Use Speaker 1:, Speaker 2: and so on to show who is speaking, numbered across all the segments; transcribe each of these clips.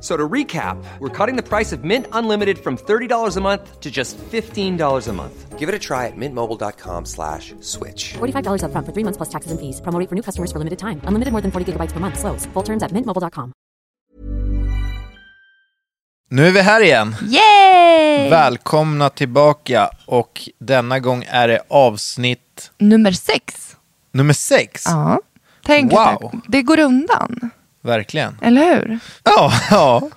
Speaker 1: So to recap, we're cutting the price of Mint Unlimited from $30 a month to just $15 a month. Give it a try at mintmobile.com slash switch.
Speaker 2: $45 upfront for three months plus taxes and fees. Promo rate for new customers for limited time. Unlimited more than 40 gigabytes per month. Slows. Full terms at mintmobile.com.
Speaker 3: Nu är vi här igen.
Speaker 4: Yay!
Speaker 3: Välkomna tillbaka och denna gång är det avsnitt
Speaker 4: Nummer sex.
Speaker 3: nummer sex.
Speaker 4: Ja. Tänk
Speaker 3: Wow.
Speaker 4: att det- det går undan,
Speaker 3: Verkligen.
Speaker 4: eller hur?
Speaker 3: Ja, ja.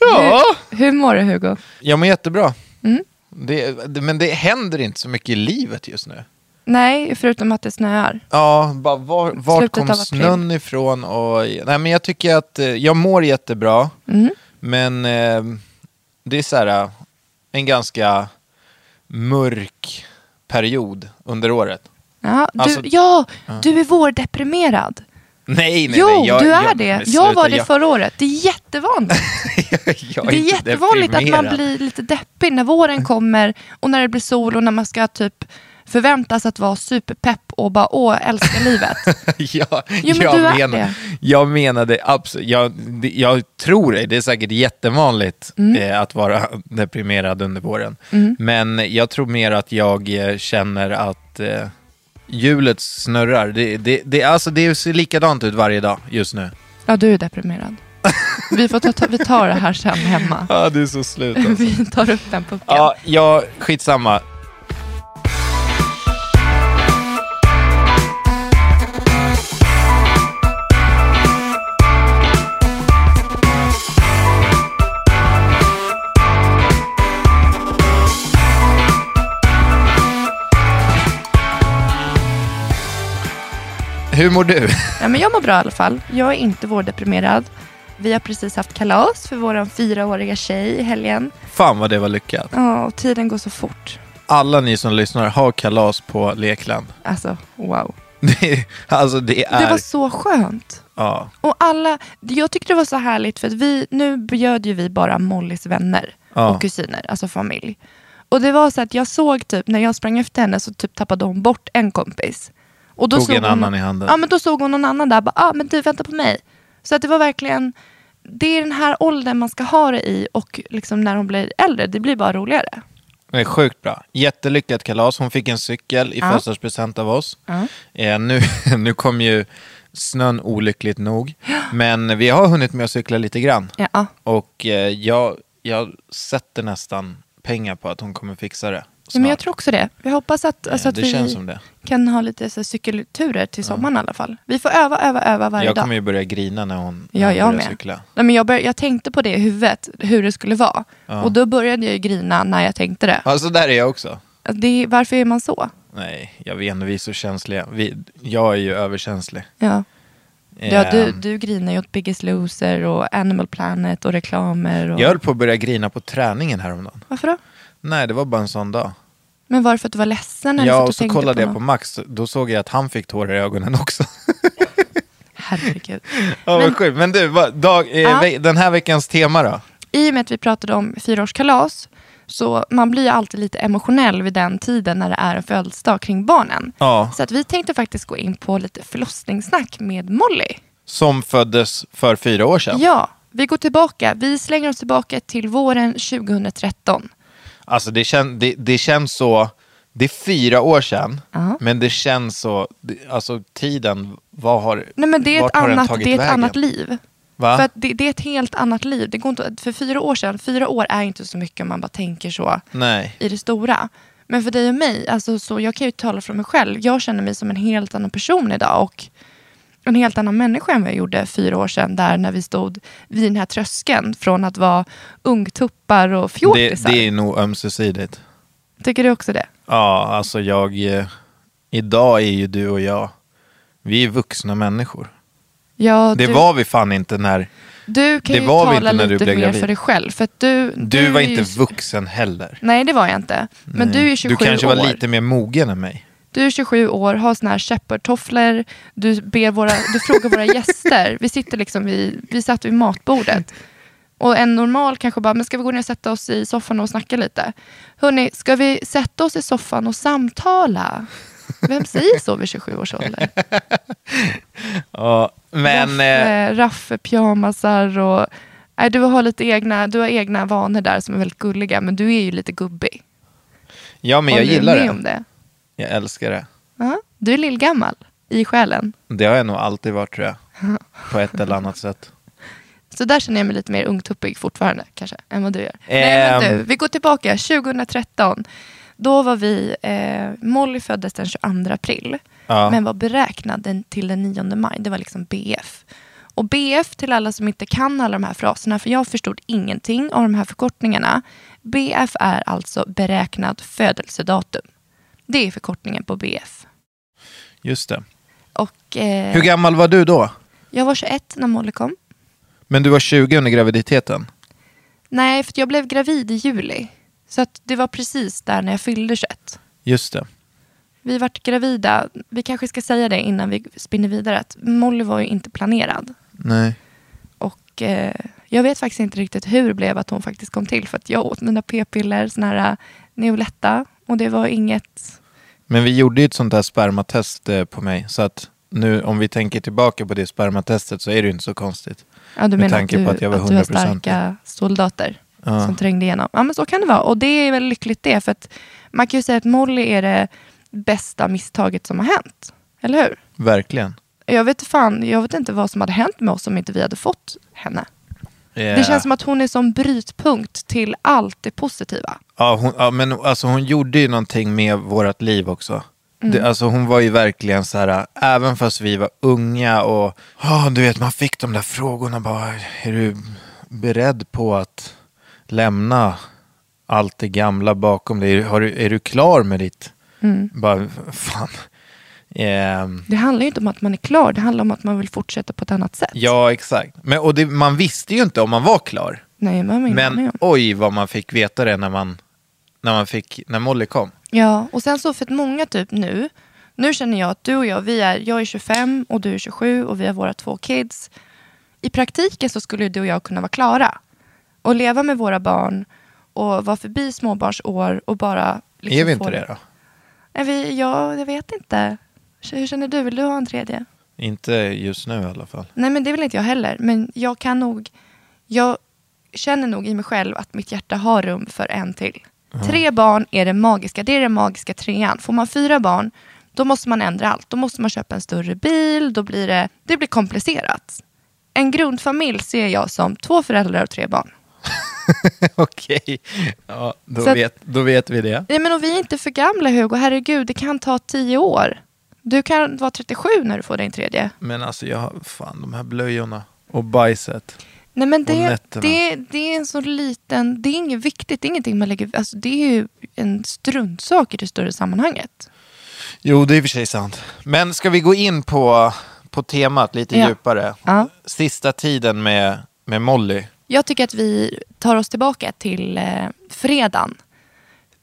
Speaker 3: Ja,
Speaker 4: Hur, hur mår du Hugo?
Speaker 3: jag mår jättebra.
Speaker 4: Mm.
Speaker 3: Det, det, men det händer inte så mycket i livet just nu.
Speaker 4: Nej, förutom att det snöar.
Speaker 3: Ja, bara var, var
Speaker 4: Slutet
Speaker 3: kom
Speaker 4: av april.
Speaker 3: snön ifrån? Och, nej, men jag tycker att eh, jag mår jättebra,
Speaker 4: Mm.
Speaker 3: men eh, det är så här, eh, en ganska mörk period under året.
Speaker 4: Ja, du,
Speaker 3: Alltså-
Speaker 4: ja, du är vårdeprimerad.
Speaker 3: Nej, nej,
Speaker 4: jo,
Speaker 3: nej. Jag,
Speaker 4: du är
Speaker 3: jag,
Speaker 4: det.
Speaker 3: men
Speaker 4: Jag var
Speaker 3: sluta,
Speaker 4: det
Speaker 3: jag-
Speaker 4: förra året. Det är jättevanligt.
Speaker 3: jag
Speaker 4: det
Speaker 3: inte
Speaker 4: är jättevanligt att man
Speaker 3: deprimerad.
Speaker 4: blir lite deppig när våren kommer och när det blir sol och när man ska typ förväntas att vara superpepp och bara åh, älskar livet.
Speaker 3: ja,
Speaker 4: Jo, men
Speaker 3: jag,
Speaker 4: du är
Speaker 3: menar-
Speaker 4: det.
Speaker 3: jag menade absolut, jag, det- jag tror det, det är säkert jättevanligt
Speaker 4: Mm.
Speaker 3: eh, att vara deprimerad under våren. Men jag tror mer att jag eh, känner att eh, hjulet snurrar. Det, det, det, alltså, det ser likadant ut varje dag just nu.
Speaker 4: Ja, du är deprimerad. Vi, får ta, ta, vi tar det här sen hemma.
Speaker 3: Ja, du är så slut alltså.
Speaker 4: Vi tar upp den pucken.
Speaker 3: Ja, ja, skitsamma. Hur mår du?
Speaker 4: Ja, men jag mår bra i alla fall. Jag är inte vårdeprimerad. Vi har precis haft kalas för vår fyraåriga tjej i helgen.
Speaker 3: Fan vad det var lyckat.
Speaker 4: Ja, och tiden går så fort.
Speaker 3: Alla ni som lyssnar, ha kalas på Lekland.
Speaker 4: Alltså, wow.
Speaker 3: Det, är- alltså det är...
Speaker 4: Det var så skönt.
Speaker 3: ja.
Speaker 4: Och alla, jag tyckte det var så härligt för att vi, nu bjöd ju vi bara Mollys vänner
Speaker 3: Ja.
Speaker 4: och kusiner, alltså familj. Och det var så att jag såg typ, när jag sprang efter henne så typ tappade hon bort en kompis. Och då
Speaker 3: Tog en
Speaker 4: hon,
Speaker 3: annan i handen.
Speaker 4: Ja men då såg hon någon annan där, bara, ah, men du vänta på mig. Så att det var verkligen, det är den här åldern man ska ha det i och liksom när hon blir äldre, det blir bara roligare.
Speaker 3: Det är sjukt bra. Jättelyckat kalas. Hon fick en cykel i
Speaker 4: Ja.
Speaker 3: födelsedagspresent av oss. Eh, nu, nu kom ju snön olyckligt nog. Men vi har hunnit med att cykla lite grann.
Speaker 4: Ja.
Speaker 3: Och eh, jag, jag sätter nästan pengar på att hon kommer fixa det.
Speaker 4: Ja, men jag
Speaker 3: snart.
Speaker 4: tror också det. Jag hoppas att, alltså,
Speaker 3: Eh,
Speaker 4: att
Speaker 3: det
Speaker 4: vi
Speaker 3: känns som det.
Speaker 4: kan ha lite så här, cykelturer till sommaren i alla fall. Vi får öva, öva, öva varje
Speaker 3: Jag
Speaker 4: dag.
Speaker 3: kommer ju börja grina när hon, när
Speaker 4: Ja,
Speaker 3: hon
Speaker 4: jag
Speaker 3: börjar
Speaker 4: med.
Speaker 3: cykla.
Speaker 4: Nej, men jag, bör, jag tänkte på det i huvudet, hur det skulle vara. Och då började jag ju grina när jag tänkte det.
Speaker 3: Ja, så Alltså, där är jag också.
Speaker 4: det varför är man så?
Speaker 3: Nej, jag vet inte, vi är så känsliga. Vi, jag är ju överkänslig.
Speaker 4: Ja. Ja, du,
Speaker 3: Ehm,
Speaker 4: du grinar ju åt Biggest Loser och Animal Planet och reklamer. Och...
Speaker 3: Jag höll på att börja grina på träningen häromdagen.
Speaker 4: Varför då?
Speaker 3: Nej, det var bara en sån dag.
Speaker 4: Men varför att du var ledsen? eller
Speaker 3: Ja,
Speaker 4: satt
Speaker 3: och så
Speaker 4: tänkte
Speaker 3: kollade jag på
Speaker 4: något?
Speaker 3: Max, då såg jag att han fick tårar i ögonen också.
Speaker 4: Herregud.
Speaker 3: ja,
Speaker 4: Men-
Speaker 3: men, sjukt. men du, vad, dag, eh,
Speaker 4: Ja.
Speaker 3: ve- den här veckans tema då?
Speaker 4: I och med att vi pratade om fyraårskalas, så man blir ju alltid lite emotionell vid den tiden när det är en födelsedag kring barnen.
Speaker 3: Ja.
Speaker 4: Så att vi tänkte faktiskt gå in på lite förlossningssnack med Molly.
Speaker 3: Som föddes för fyra år sedan.
Speaker 4: Ja, vi går tillbaka. Vi slänger oss tillbaka till våren 2013.
Speaker 3: Alltså det, kän, det, det känns så, det är fyra år sedan, men det känns så, det, alltså tiden, vad har,
Speaker 4: Nej, men det är
Speaker 3: vart
Speaker 4: ett,
Speaker 3: har den
Speaker 4: annat,
Speaker 3: tagit
Speaker 4: det är ett
Speaker 3: vägen?
Speaker 4: annat liv.
Speaker 3: Va?
Speaker 4: För att det, det är ett helt annat liv. Det går inte, för fyra år sedan, fyra år är inte så mycket om man bara tänker så
Speaker 3: Nej.
Speaker 4: i det stora. Men för dig och mig, alltså, så jag kan ju tala för mig själv. Jag känner mig som en helt annan person idag och en helt annan människa än vad jag gjorde fyra år sedan där när vi stod vid den här tröskeln från att vara ungtuppar och
Speaker 3: Det,
Speaker 4: fjortisar.
Speaker 3: det är nog ömsesidigt.
Speaker 4: Tycker du också det?
Speaker 3: Ja, alltså jag... eh, Idag är ju du och jag, vi är vuxna människor.
Speaker 4: Ja,
Speaker 3: Det
Speaker 4: du,
Speaker 3: var vi fan inte när...
Speaker 4: du kan
Speaker 3: det
Speaker 4: ju
Speaker 3: var vi
Speaker 4: tala
Speaker 3: inte när du
Speaker 4: lite
Speaker 3: blev
Speaker 4: mer
Speaker 3: gravid.
Speaker 4: för dig själv. För att du,
Speaker 3: Du var
Speaker 4: är ju-
Speaker 3: inte vuxen heller.
Speaker 4: Nej, det var jag inte. Men du är ju 27
Speaker 3: Du kanske
Speaker 4: år.
Speaker 3: var lite mer mogen än mig.
Speaker 4: Du är 27 år, har såna här shepherdtofflor. Du, ber våra, du frågar våra gäster. Vi sitter liksom vid, vi satt vid matbordet. Och en normal kanske bara, men ska vi gå ner och sätta oss i soffan och snacka lite? Hörni, ska vi sätta oss i soffan och samtala? Vem säger så vid 27 års ålder?
Speaker 3: Ja, men... eh,
Speaker 4: Raffe, Raffe pyjamasar och... Nej, du har lite egna, du har egna vanor där som är väldigt gulliga, men du är ju lite gubbig.
Speaker 3: Ja, men jag
Speaker 4: Håller du
Speaker 3: gillar
Speaker 4: med Om
Speaker 3: det.
Speaker 4: det?
Speaker 3: Jag älskar det.
Speaker 4: Ja, du är lillgammal i själen.
Speaker 3: Det har jag nog alltid varit, tror jag. På ett eller annat sätt.
Speaker 4: Så där känner jag mig lite mer ungtuppig fortfarande kanske, än vad du gör. Nej, men
Speaker 3: Ehm.
Speaker 4: du, vi går tillbaka 2013. Då var vi, eh, Molly föddes den 22 april,
Speaker 3: Ja.
Speaker 4: men var beräknad den, till den 9 maj. Det var liksom BF. Och BF, till alla som inte kan alla de här fraserna, för jag förstod ingenting av de här förkortningarna. BF är alltså beräknad födelsedatum. Det är förkortningen på BF.
Speaker 3: Just det.
Speaker 4: Och, eh,
Speaker 3: Hur gammal var du då?
Speaker 4: jag var 21 när Molly kom.
Speaker 3: Men du var 20 under graviditeten?
Speaker 4: Nej, för jag blev gravid i juli. Så att det var precis där när jag fyllde 21.
Speaker 3: Just det.
Speaker 4: Vi vart gravida, vi kanske ska säga det innan vi spinner vidare, att Molly var ju inte planerad.
Speaker 3: Nej.
Speaker 4: Och eh, jag vet faktiskt inte riktigt hur det blev att hon faktiskt kom till. För att jag åt mina p-piller, såna här eh, Neoletta. Och det var inget...
Speaker 3: Men vi gjorde ju ett sånt här spermatest eh, på mig. Så att nu om vi tänker tillbaka på det spermatestet så är det ju inte så konstigt.
Speaker 4: Ja, du
Speaker 3: Med
Speaker 4: menar att
Speaker 3: tanke
Speaker 4: du,
Speaker 3: på att jag var
Speaker 4: du har
Speaker 3: 100%.
Speaker 4: starka soldater
Speaker 3: Ja.
Speaker 4: som trängde igenom. Ja, men så kan det vara. Och det är väl lyckligt det. För att man kan ju säga att Molly är det bästa misstaget som har hänt. Eller hur?
Speaker 3: Verkligen.
Speaker 4: Jag vet, fan, jag vet inte vad som hade hänt med oss om inte vi hade fått henne. Det känns som att hon är som brytpunkt till allt det positiva.
Speaker 3: Ja, hon, ja men alltså hon gjorde ju någonting med vårt liv också. Det, alltså hon var ju verkligen så här, äh, även fast vi var unga och ja du vet man fick de där frågorna bara, är du beredd på att lämna allt det gamla bakom dig? Har du, är du klar med ditt? Bara, fan. Ehm,
Speaker 4: Det handlar ju inte om att man är klar, det handlar om att man vill fortsätta på ett annat sätt.
Speaker 3: ja, exakt. Men, och det, man visste ju inte om man var klar.
Speaker 4: Nej, man har ingen aning
Speaker 3: Men
Speaker 4: om.
Speaker 3: oj vad man fick veta det när, man, när, man fick, när Molly kom.
Speaker 4: Ja, och sen så för att många typ nu, nu känner jag att du och jag, vi är, jag är 25 och du är 27 och vi har våra två kids. I praktiken så skulle ju du och jag kunna vara klara och leva med våra barn och vara förbi småbarnsår och bara... liksom
Speaker 3: är vi
Speaker 4: få
Speaker 3: inte det då?
Speaker 4: Nej, vi, ja, jag vet inte. Hur känner du? Vill du ha en tredje?
Speaker 3: Inte just nu i alla fall.
Speaker 4: Nej, men det vill inte jag heller. Men jag kan nog... Jag känner nog i mig själv att mitt hjärta har rum för en till. Tre barn är det magiska. Det är den magiska trean. Får man fyra barn, då måste man ändra allt. Då måste man köpa en större bil. Då blir det, det blir komplicerat. En grundfamilj ser jag som två föräldrar och tre barn.
Speaker 3: Okej, ja, då,
Speaker 4: Så att-
Speaker 3: vet, då vet vi det.
Speaker 4: Nej, men och vi är inte för gamla, Hugo. Herregud, det kan ta tio år. Du kan vara 37 när du får din tredje.
Speaker 3: Men alltså, jag har, fan de här blöjorna och bajset.
Speaker 4: Nej men det,
Speaker 3: nätterna.
Speaker 4: det, det är en så liten, det är inget viktigt, det är ingenting man lägger, alltså det är ju en struntsak i det större sammanhanget.
Speaker 3: Jo, det är i och för sig sant. Men ska vi gå in på, på temat lite
Speaker 4: Ja.
Speaker 3: djupare?
Speaker 4: Ja.
Speaker 3: Sista tiden med, med Molly.
Speaker 4: Jag tycker att vi tar oss tillbaka till eh, fredagen.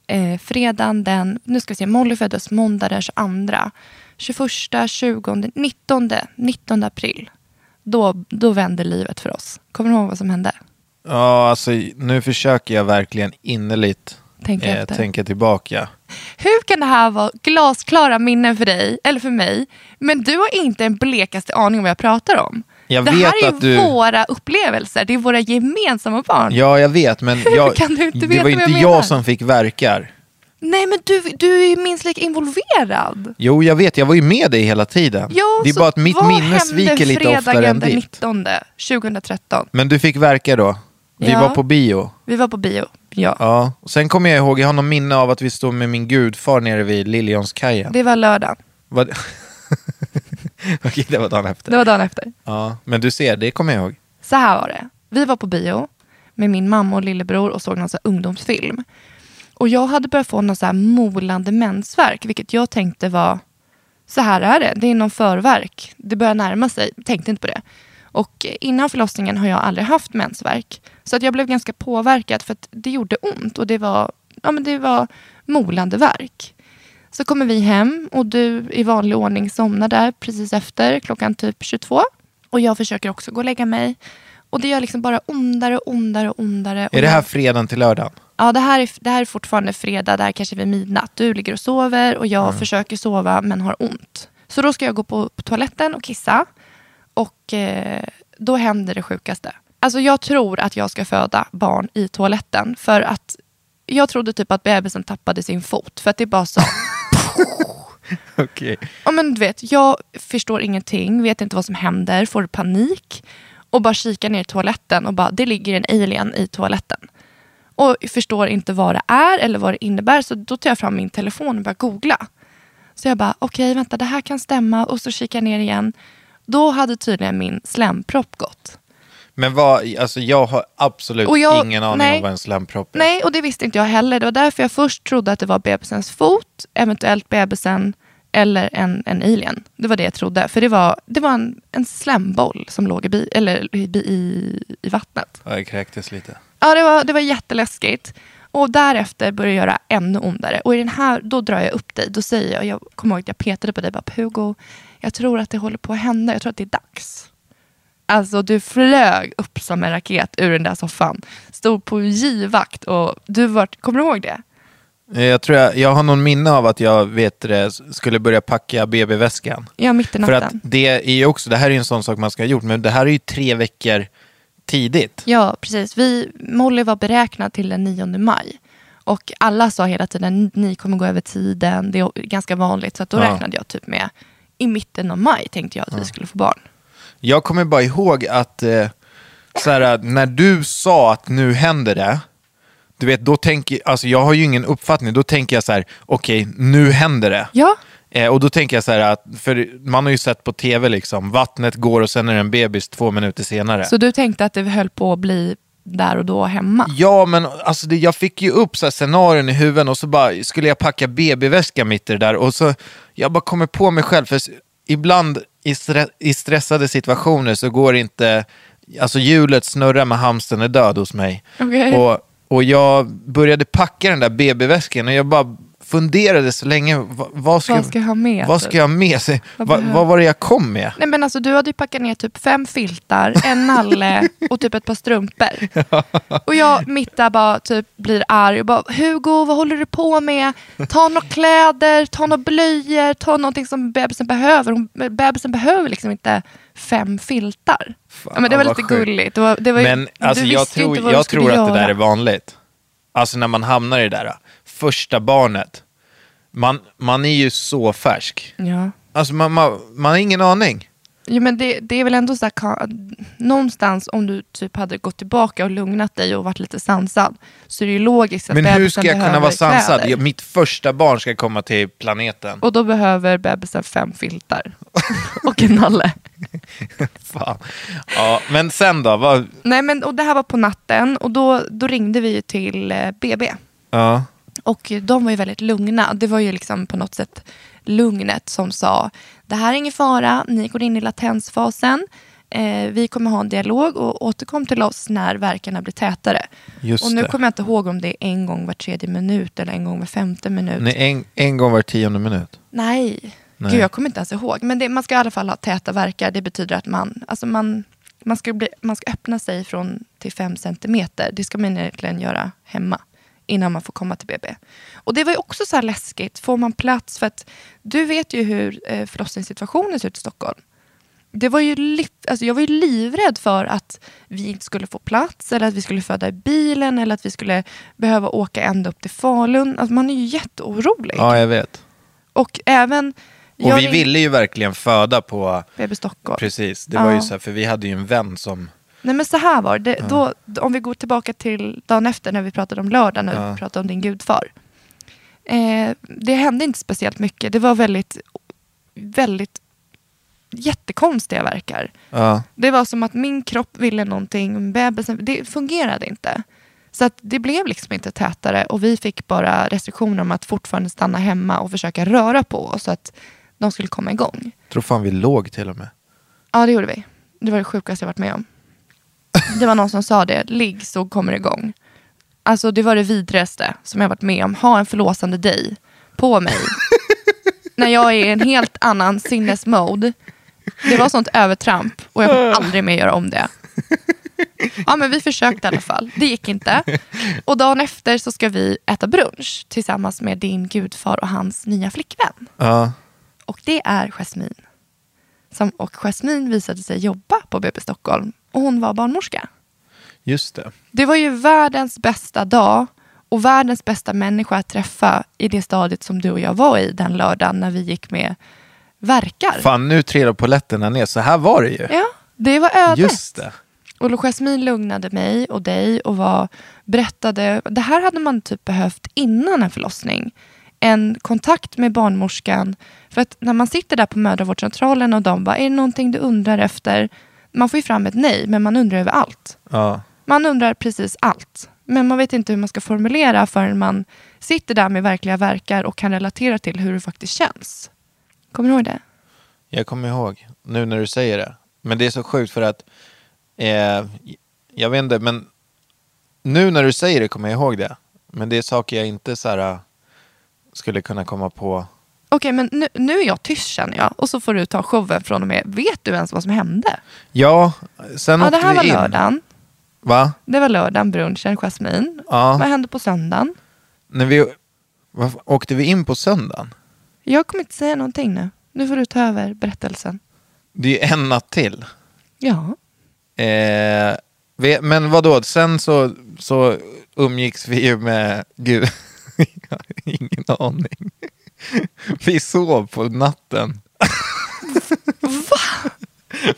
Speaker 4: Eh, fredagen den, nu ska vi se, Molly föddes måndag den 22, 21, 20, 19, 19 april. Då, då vände livet för oss. Kommer du ihåg vad som hände?
Speaker 3: Ja, alltså nu försöker jag verkligen innerligt eh,
Speaker 4: Tänka efter.
Speaker 3: tänka tillbaka.
Speaker 4: Hur kan det här vara glasklara minnen för dig, eller för mig, men du har inte en blekaste aning om vad jag pratar om?
Speaker 3: Jag
Speaker 4: det
Speaker 3: vet
Speaker 4: här är ju
Speaker 3: att du-
Speaker 4: våra upplevelser, det är våra gemensamma barn.
Speaker 3: Ja, jag vet, men
Speaker 4: Hur
Speaker 3: jag,
Speaker 4: kan du inte
Speaker 3: det var
Speaker 4: veta vad jag
Speaker 3: inte
Speaker 4: menar?
Speaker 3: jag som fick verkar.
Speaker 4: Nej men du, du är ju minst lika involverad.
Speaker 3: Jo, jag vet. Jag var ju med dig hela tiden.
Speaker 4: Ja,
Speaker 3: det är
Speaker 4: så
Speaker 3: bara att mitt
Speaker 4: vad
Speaker 3: minne
Speaker 4: hände
Speaker 3: sviker lite oftare
Speaker 4: fredagen
Speaker 3: än
Speaker 4: den
Speaker 3: ditt.
Speaker 4: 19 2013?
Speaker 3: Men du fick verka då. Vi
Speaker 4: Ja.
Speaker 3: var på bio.
Speaker 4: Vi var på bio. Ja.
Speaker 3: Ja. Och sen kommer jag ihåg, jag har någon minne av att vi stod med min gudfar nere vid Liljeholmskajen.
Speaker 4: Det var lördagen.
Speaker 3: Vad- Okej, det var dagen efter.
Speaker 4: Det var dagen efter.
Speaker 3: Ja. Men du ser, det kommer jag ihåg.
Speaker 4: Så här var det. Vi var på bio med min mamma och lillebror och såg någon så här ungdomsfilm. Och jag hade börjat få någon så här molande mensvärk, vilket jag tänkte var, så här är det, det är någon förvärk. Det börjar närma sig, tänkte inte på det. Och innan förlossningen har jag aldrig haft mensvärk. Så att jag blev ganska påverkad för att det gjorde ont och det var, ja, men det var molande värk. Så kommer vi hem och du i vanlig ordning somnar där precis efter klockan typ 22. Och jag försöker också gå och lägga mig. Och det gör liksom bara ondare och ondare och ondare. Och
Speaker 3: Är det
Speaker 4: jag-
Speaker 3: här fredagen till lördagen?
Speaker 4: Ja, det här, är, det här är fortfarande fredag, det här kanske är vid midnatt. Du ligger och sover och
Speaker 3: Mm.
Speaker 4: jag försöker sova men har ont. Så då ska jag gå på, på toaletten och kissa. Och eh, då händer det sjukaste. Alltså jag tror att jag ska föda barn i toaletten. För att jag trodde typ att bebisen tappade sin fot. För att det bara så.
Speaker 3: Okej.
Speaker 4: ja, men du vet, jag förstår ingenting, vet inte vad som händer, får panik och bara kikar ner i toaletten och bara, det ligger en alien i toaletten. Och förstår inte vad det är eller vad det innebär, så då tar jag fram min telefon och börjar googla. Så jag bara, okej vänta, det här kan stämma och så kikar jag ner igen. Då hade tydligen min slempropp gått.
Speaker 3: Men vad, alltså jag har absolut
Speaker 4: Och jag-
Speaker 3: ingen aning
Speaker 4: nej.
Speaker 3: om vad en slempropp är.
Speaker 4: Nej, och det visste inte jag heller. Det var därför jag först trodde att det var bebisens fot, eventuellt bebisen eller en, en alien. Det var det jag trodde. För det var, det var en, en slemboll som låg i, bi, eller i, bi- i, i vattnet.
Speaker 3: Ja, jag kräktes lite.
Speaker 4: Ja, det var, det var jätteläskigt. Och därefter började det göra ännu ondare. Och i den här, då drar jag upp dig. Då säger jag, jag kommer ihåg att jag petade på dig, bara Hugo, jag tror att det håller på att hända. Jag tror att det är dags. Alltså du flög upp som en raket ur den där soffan. Stod på givakt och du var, kommer du ihåg det?
Speaker 3: Eh, Jag, tror jag, jag har någon minne av att jag vet det, s- skulle börja packa BB-väskan.
Speaker 4: Ja, mitt i
Speaker 3: För att
Speaker 4: natten.
Speaker 3: det är ju också, det här är ju en sån sak man ska ha gjort, men det här är ju tre veckor tidigt.
Speaker 4: Ja, precis. Vi, Molly var beräknad till den 9 maj. Och alla sa hela tiden, ni kommer gå över tiden, det är ganska vanligt. Så att då
Speaker 3: Ja.
Speaker 4: räknade jag typ med, i mitten av maj tänkte jag att vi skulle få barn.
Speaker 3: Jag kommer bara ihåg att eh, så här, när du sa att nu händer det, du vet, då tänker, alltså jag har ju ingen uppfattning, då tänker jag så här, okej, nu händer det.
Speaker 4: Ja,
Speaker 3: Eh, och då tänker jag så här, att, för man har ju sett på tv liksom, vattnet går och sen är det en bebis två minuter senare.
Speaker 4: så du tänkte att det höll på att bli där och då hemma?
Speaker 3: Ja, men alltså, det, jag fick ju upp så här scenarion i huvudet och så bara skulle jag packa BB-väska mitt i det där och så jag bara kommer på mig själv för s- ibland i, stre- i stressade situationer så går inte, alltså hjulet snurrar men hamsten är död hos mig.
Speaker 4: Okej.
Speaker 3: Och, och jag började packa den där BB-väskan och jag bara funderade så länge, va, vad, ska,
Speaker 4: Vad ska jag ha med? typ?
Speaker 3: Vad ska jag ha med? Så,
Speaker 4: Vad
Speaker 3: va,
Speaker 4: behöver-
Speaker 3: vad var det jag kom med?
Speaker 4: Nej men alltså du hade ju packat ner typ fem filtar, en nalle och typ ett par strumpor. Och jag mitt där bara typ blir arg och bara Hugo vad håller du på med? Ta några kläder, ta några blöjor, ta någonting som bebisen behöver. Hon, bebisen behöver liksom inte fem filtar. ja, men det var
Speaker 3: vad
Speaker 4: lite
Speaker 3: sjukt.
Speaker 4: gulligt. Det var, det var, ju-
Speaker 3: Men
Speaker 4: du
Speaker 3: alltså, jag
Speaker 4: visste ju
Speaker 3: tror,
Speaker 4: inte vad du
Speaker 3: jag
Speaker 4: skulle
Speaker 3: tror att
Speaker 4: göra.
Speaker 3: det där är vanligt. Alltså när man hamnar i det där, första barnet. Man, man är ju så färsk.
Speaker 4: Ja.
Speaker 3: Alltså man, man, man har ingen aning.
Speaker 4: Jo, men det, det är väl ändå så här, ka- någonstans om du typ hade gått tillbaka och lugnat dig och varit lite sansad så är det ju logiskt att
Speaker 3: Men hur
Speaker 4: bebisen
Speaker 3: ska jag kunna
Speaker 4: behöver
Speaker 3: vara sansad?
Speaker 4: kläder.
Speaker 3: Jag, mitt första barn ska komma till planeten.
Speaker 4: Och då behöver bebisen fem filtar och en nalle.
Speaker 3: Fan. Ja, men sen då? Vad,
Speaker 4: Nej, men, och det här var på natten och då, då ringde vi ju till eh, BB.
Speaker 3: ja.
Speaker 4: Och de var ju väldigt lugna. Det var ju liksom på något sätt lugnet som sa det här är ingen fara, ni går in i latensfasen. Eh, vi kommer ha en dialog och återkom till oss när verkarna blir tätare.
Speaker 3: Just
Speaker 4: och nu
Speaker 3: det.
Speaker 4: kommer jag inte ihåg om det är en gång var tredje minut eller en gång var femte minut.
Speaker 3: Nej, en, en gång var tionde minut.
Speaker 4: Nej.
Speaker 3: Nej.
Speaker 4: Gud, jag kommer inte ens ihåg. Men det, man ska i alla fall ha täta verkar. Det betyder att man, alltså man, man, ska, bli, man ska öppna sig från till fem centimeter. Det ska man egentligen göra hemma innan man får komma till BB. Och det var ju också så här läskigt. Får man plats? För att du vet ju hur eh, förlossningssituationen ser ut i Stockholm. det var ju liv, alltså jag var ju livrädd för att vi inte skulle få plats, eller att vi skulle föda i bilen, eller att vi skulle behöva åka ända upp till Falun. Alltså man är ju jätteorolig.
Speaker 3: Ja, jag vet.
Speaker 4: Och även...
Speaker 3: Och vi
Speaker 4: ring-
Speaker 3: ville ju verkligen föda på...
Speaker 4: BB Stockholm.
Speaker 3: Precis, det var ju
Speaker 4: Ja.
Speaker 3: så här, för vi hade ju en vän som...
Speaker 4: Nej men så här var det. Då, om vi går tillbaka till dagen efter när vi pratade om lördagen, när
Speaker 3: Ja.
Speaker 4: vi pratade om din gudfar. Eh, det hände inte speciellt mycket. Det var väldigt, väldigt jättekonstiga verkar.
Speaker 3: Ja,
Speaker 4: Det var som att min kropp ville någonting, men bebisen, det fungerade inte. Så att det blev liksom inte tätare och vi fick bara restriktioner om att fortfarande stanna hemma och försöka röra på oss så att de skulle komma igång.
Speaker 3: tror fan vi låg till och med.
Speaker 4: Ja, det gjorde vi. Det var det sjukaste jag varit med om. Det var någon som sa det, ligg så kommer det igång. Alltså det var det vidrigaste som jag varit med om. Ha en förlåsande dig på mig. När jag är i en helt annan sinnesmode. Det var sånt övertramp och jag kommer aldrig mer göra om det. Ja men vi försökte i alla fall. Det gick inte. Och dagen efter så ska vi äta brunch tillsammans med din gudfar och hans nya flickvän.
Speaker 3: Ja,
Speaker 4: Och det är Jasmine. Som, och Jasmine visade sig jobba på BB Stockholm och hon var barnmorska.
Speaker 3: just det.
Speaker 4: Det var ju världens bästa dag och världens bästa människa att träffa i det stadiet som du och jag var i den lördagen när vi gick med verkar.
Speaker 3: Fan, nu trillar poletterna ner. Så här var det ju.
Speaker 4: Ja, det var ödet.
Speaker 3: just det.
Speaker 4: Och Jasmine lugnade mig och dig och var, berättade, det här hade man typ behövt innan en förlossning. En kontakt med barnmorskan. För att när man sitter där på mödravårdscentralen och de bara, är det någonting du undrar efter? Man får ju fram ett nej, men man undrar över allt.
Speaker 3: Ja.
Speaker 4: Man undrar precis allt. Men man vet inte hur man ska formulera förrän man sitter där med verkliga verkar och kan relatera till hur det faktiskt känns. Kommer du ihåg det?
Speaker 3: Jag kommer ihåg, nu när du säger det. Men det är så sjukt för att, eh, jag vet inte, men nu när du säger det kommer jag ihåg det. Men det är saker jag inte så här, eh, skulle kunna komma på.
Speaker 4: Okej, men nu, nu är jag tyst känner jag. Och så får du ta showen från och med. Vet du ens vad som hände?
Speaker 3: Ja, sen
Speaker 4: Ja, det
Speaker 3: åkte
Speaker 4: här
Speaker 3: vi
Speaker 4: var
Speaker 3: in.
Speaker 4: lördagen.
Speaker 3: Va?
Speaker 4: Det var lördagen, brunchen, Jasmine.
Speaker 3: Ja.
Speaker 4: Vad hände på söndagen?
Speaker 3: När vi, vad fan, åkte vi in på söndagen?
Speaker 4: Jag kommer inte säga någonting nu. Nu får du ta över berättelsen.
Speaker 3: Det är ju en natt till.
Speaker 4: Ja.
Speaker 3: Eh, vi, men vadå, sen så, så umgicks vi ju med Gud. Jag har ingen aning. Vi sov på natten. Va?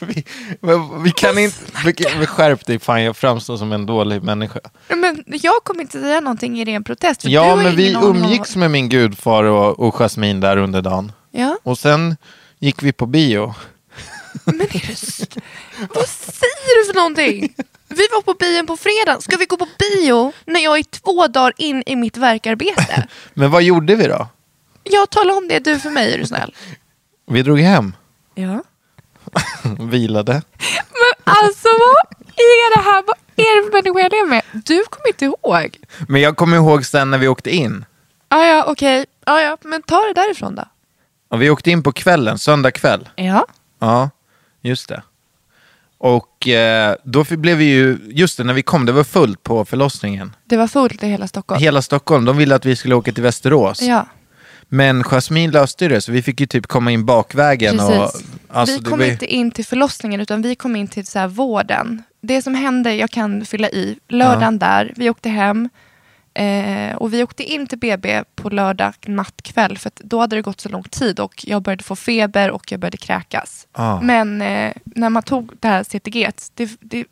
Speaker 3: Vi, men vi kan inte... Vi, vi skärp dig fan, jag framstår som en dålig människa.
Speaker 4: Men jag kommer inte säga någonting i ren protest. För du
Speaker 3: Ja,
Speaker 4: har
Speaker 3: men
Speaker 4: ingen
Speaker 3: vi
Speaker 4: aning om vad-
Speaker 3: umgicks med min gudfar och, och Jasmine där under dagen.
Speaker 4: Ja,
Speaker 3: Och sen gick vi på bio.
Speaker 4: men är det... s- Vad säger du för någonting? Vi var på bion på fredag. Ska vi gå på bio när jag är två dagar in i mitt verkarbete?
Speaker 3: Men vad gjorde vi då?
Speaker 4: Jag talar om det du för mig, är du snäll.
Speaker 3: Vi drog hem,
Speaker 4: Ja.
Speaker 3: vilade.
Speaker 4: Men alltså vad är det här? Vad är det för människa jag lever med? Du kommer inte ihåg.
Speaker 3: Men jag kommer ihåg sen när vi åkte in.
Speaker 4: Ah, ja, okej. Ah, ja, men ta det därifrån då.
Speaker 3: Ja, vi åkte in på kvällen, söndag kväll.
Speaker 4: Ja.
Speaker 3: Ja, just det. Och eh, då fi- blev vi ju, just det, när vi kom, det var fullt på förlossningen.
Speaker 4: Det var fullt i hela Stockholm.
Speaker 3: Hela Stockholm, de ville att vi skulle åka till Västerås.
Speaker 4: Ja,
Speaker 3: Men Jasmine löste ju det, så vi fick ju typ komma in bakvägen.
Speaker 4: precis.
Speaker 3: Och, alltså,
Speaker 4: vi
Speaker 3: det
Speaker 4: kom
Speaker 3: var ju-
Speaker 4: inte in till förlossningen utan vi kom in till så här vården. Det som hände, jag kan fylla i, lördagen där, vi åkte hem eh, och vi åkte in till BB på lördag nattkväll för att då hade det gått så lång tid och jag började få feber och jag började kräkas.
Speaker 3: Ja.
Speaker 4: Men eh, när man tog det här CTG, det, det,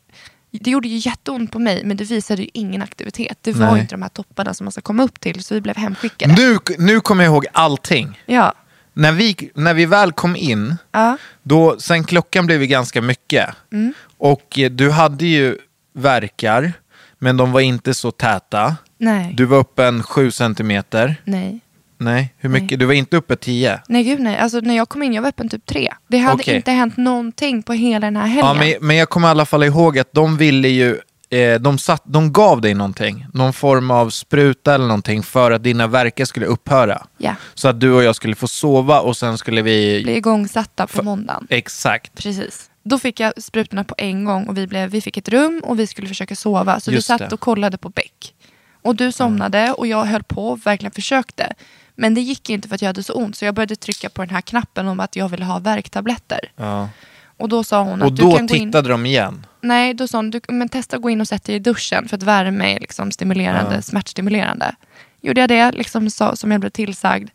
Speaker 4: det gjorde ju jätteont på mig men det visade ju ingen aktivitet. Det var
Speaker 3: Nej.
Speaker 4: ju inte de här topparna som man ska komma upp till så vi blev hemskickade.
Speaker 3: nu, nu kommer jag ihåg allting.
Speaker 4: Ja.
Speaker 3: När vi, när vi väl kom in,
Speaker 4: Ja.
Speaker 3: då, sen klockan blev ju ganska mycket.
Speaker 4: Mm.
Speaker 3: Och eh, du hade ju verkar, men de var inte så täta.
Speaker 4: Nej.
Speaker 3: Du var uppe en 7 centimeter.
Speaker 4: Nej.
Speaker 3: Nej, hur mycket? Du var inte uppe 10.
Speaker 4: Nej gud nej, alltså när jag kom in jag var öppen typ tre. Det hade
Speaker 3: Okej.
Speaker 4: inte hänt någonting på hela den här
Speaker 3: Ja,
Speaker 4: helgen.
Speaker 3: men, men jag kommer i alla fall ihåg att de ville ju, eh, de, satt, de gav dig någonting, någon form av spruta eller någonting för att dina verkar skulle upphöra.
Speaker 4: Ja.
Speaker 3: Så att du och jag skulle få sova och sen skulle vi...
Speaker 4: Blev igångsatta på måndagen.
Speaker 3: Exakt.
Speaker 4: Precis. Då fick jag sprutorna på en gång och vi, blev, vi fick ett rum och vi skulle försöka sova. Så
Speaker 3: Just
Speaker 4: vi satt
Speaker 3: det.
Speaker 4: och kollade på Beck. Och du somnade och jag höll på och verkligen försökte. Men det gick inte för att jag hade så ont så jag började trycka på den här knappen om att jag ville ha värktabletter.
Speaker 3: Ja.
Speaker 4: Och då sa hon
Speaker 3: Och
Speaker 4: att du
Speaker 3: då
Speaker 4: kan gå in...
Speaker 3: tittade de igen.
Speaker 4: Nej, då sa hon, du, men testa att gå in och sätta dig i duschen för att värme är liksom stimulerande,
Speaker 3: Ja.
Speaker 4: smärtstimulerande. Gjorde jag det, liksom så, som jag blev tillsagd.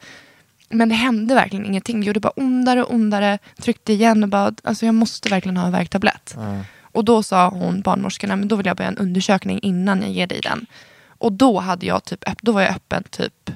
Speaker 4: Men det hände verkligen ingenting. Det gjorde bara ondare och ondare. Tryckte igen och bara, alltså jag måste verkligen ha en värktablett. Och då sa hon, barnmorskan, "Nej, men då vill jag börja en undersökning innan jag ger dig den. Och då, hade jag typ, öpp- då var jag öppen typ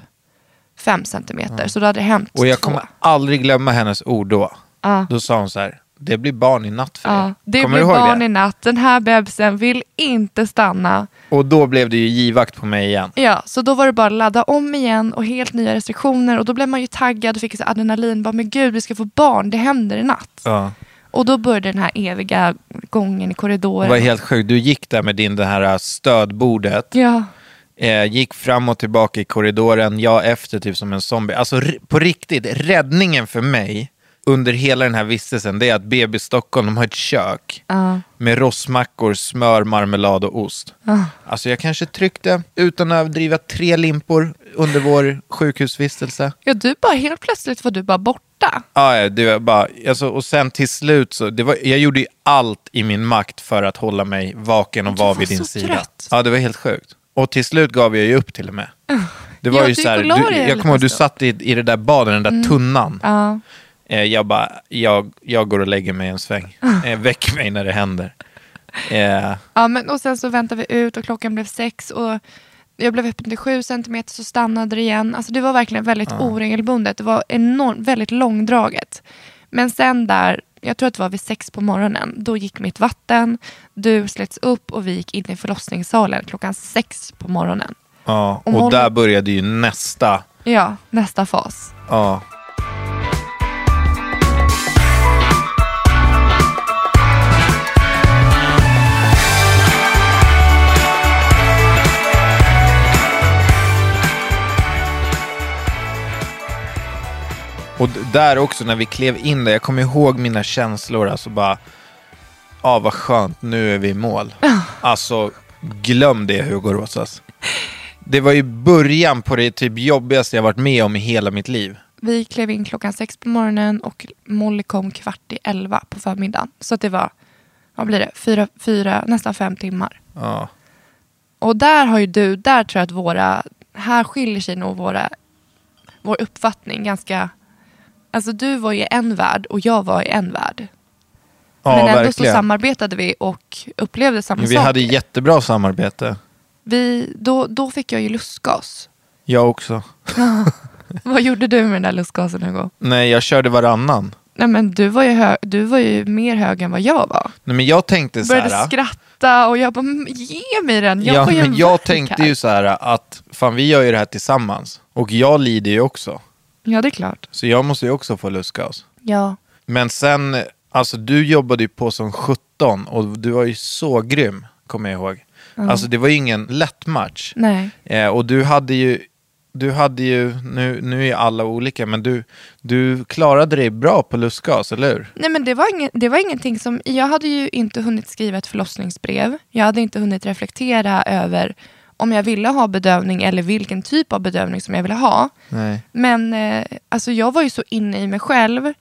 Speaker 4: fem centimeter. Så då hade det hänt
Speaker 3: Och jag
Speaker 4: två.
Speaker 3: kommer aldrig glömma hennes ord då.
Speaker 4: Ja.
Speaker 3: Då sa hon så här, det blir barn i natt för
Speaker 4: Ja,
Speaker 3: er.
Speaker 4: det
Speaker 3: kommer
Speaker 4: blev
Speaker 3: du ihåg
Speaker 4: barn
Speaker 3: det?
Speaker 4: i natt. Den här bebisen vill inte stanna.
Speaker 3: Och då blev det ju givakt på mig igen.
Speaker 4: Ja, så då var det bara att ladda om igen och helt nya restriktioner. Och då blev man ju taggad och fick så här adrenalin. Bara, men gud, vi ska få barn. Det händer i natt.
Speaker 3: Ja.
Speaker 4: Och då började den här eviga gången i
Speaker 3: Det
Speaker 4: korridoren.
Speaker 3: var helt sjukt. Du gick där med din, det här stödbordet.
Speaker 4: Ja,
Speaker 3: Eh, gick fram och tillbaka i korridoren, jag efter typ som en zombie. Alltså r- på riktigt, räddningen för mig under hela den här vistelsen det är att BB Stockholm de har ett kök med rostmackor, smör, marmelad och ost. Alltså jag kanske tryckte, utan att överdriva, tre limpor under vår sjukhusvistelse.
Speaker 4: ja du bara helt plötsligt var du bara borta.
Speaker 3: Ah, ja, det var bara, alltså, och sen till slut så, det var, jag gjorde ju allt i min makt för att hålla mig vaken och
Speaker 4: Du
Speaker 3: vara
Speaker 4: var
Speaker 3: vid din
Speaker 4: så
Speaker 3: sida.
Speaker 4: trött.
Speaker 3: Ja, det var helt sjukt. Och till slut gav jag ju upp till och med. Det var
Speaker 4: Ja,
Speaker 3: ju
Speaker 4: du
Speaker 3: så här,
Speaker 4: gick och la
Speaker 3: du,
Speaker 4: dig en
Speaker 3: jag kommer ihåg, du
Speaker 4: liten
Speaker 3: satt i, i det där badet, den där tunnan.
Speaker 4: Ja.
Speaker 3: Eh, jag bara, jag, jag går och lägger mig en sväng. Eh, väck mig när det händer. Eh,
Speaker 4: Ja, men, och sen så väntade vi ut och klockan blev sex. Och jag blev öppen till sju centimeter så stannade det igen. Alltså, det var verkligen väldigt oregelbundet. Det var enormt, väldigt långdraget. Men sen där, jag tror att det var vid sex på morgonen, då gick mitt vatten. Du slets upp och vi gick in i förlossningssalen klockan sex på morgonen.
Speaker 3: ja,
Speaker 4: Om
Speaker 3: och
Speaker 4: hon-
Speaker 3: där började ju nästa.
Speaker 4: Ja, nästa fas.
Speaker 3: Ja. Och d- där också när vi klev in där, jag kommer ihåg mina känslor, alltså bara, ja ah, vad skönt, nu är vi i mål. Alltså, glöm det Hugo Rosas. Det var ju början på det typ jobbigaste jag varit med om i hela mitt liv.
Speaker 4: Vi klev in klockan sex på morgonen och Molly kom kvart i elva på förmiddagen. Så att det var, vad blir det, fyra, fyra nästan fem timmar.
Speaker 3: Ja.
Speaker 4: Och där har ju du, där tror jag att våra, här skiljer sig nog våra, vår uppfattning ganska, alltså du var ju en värld och jag var i en värld.
Speaker 3: Ja,
Speaker 4: Men ändå
Speaker 3: verkligen.
Speaker 4: så samarbetade vi och upplevde samma
Speaker 3: Men Vi
Speaker 4: saker.
Speaker 3: hade jättebra samarbete.
Speaker 4: vi, då, då fick jag ju lustgas.
Speaker 3: Jag också.
Speaker 4: Vad gjorde du med den där lustgasen Hugo?
Speaker 3: Nej, jag körde varannan.
Speaker 4: Nej men du var ju, hö, du var ju mer hög än vad jag var.
Speaker 3: Nej, men jag tänkte så
Speaker 4: Började
Speaker 3: här.
Speaker 4: skratta och jag bara, "Men ge mig den, jag
Speaker 3: ja,
Speaker 4: får ju
Speaker 3: men
Speaker 4: en
Speaker 3: jag
Speaker 4: värk
Speaker 3: tänkte
Speaker 4: här."
Speaker 3: ju så här att fan vi gör ju det här tillsammans. Och jag lider ju också.
Speaker 4: Ja det är klart.
Speaker 3: Så jag måste ju också få lustgas.
Speaker 4: Ja.
Speaker 3: Men sen, alltså du jobbade ju på som 17 och du var ju så grym, kommer jag ihåg.
Speaker 4: Mm.
Speaker 3: Alltså det var ju ingen lätt match.
Speaker 4: Nej.
Speaker 3: Eh, och du hade ju, du hade ju, nu, nu är alla olika, men du, du klarade dig bra på lustgas, eller hur?
Speaker 4: Nej men det var, ingen, det var ingenting som, jag hade ju inte hunnit skriva ett förlossningsbrev. Jag hade inte hunnit reflektera över om jag ville ha bedövning eller vilken typ av bedövning som jag ville ha.
Speaker 3: Nej.
Speaker 4: Men eh, alltså jag var ju så inne i mig själv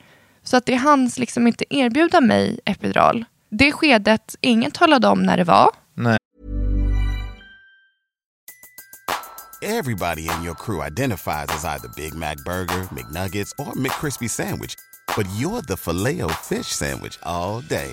Speaker 4: så att det hans liksom inte erbjuda mig epidural. Det skedet, ingen talade om när det var.
Speaker 3: Nej.
Speaker 5: Everybody in your crew identifies as either Big Mac Burger, McNuggets, or McCrispy Sandwich. But you're the filet fish Sandwich all day.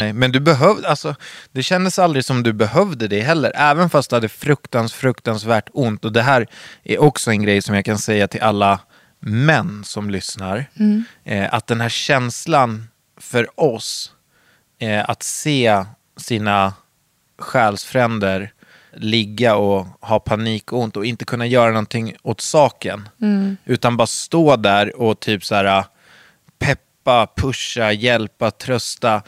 Speaker 3: Nej, men du behövde, alltså, det kändes aldrig som du behövde det heller, även fast du hade fruktans, fruktansvärt ont. Och det här är också en grej som jag kan säga till alla män som lyssnar, eh, att den här känslan för oss, eh, att se sina själsfränder ligga och ha panikont och inte kunna göra någonting åt saken, utan bara stå där och typ så här, peppa, pusha, hjälpa, trösta.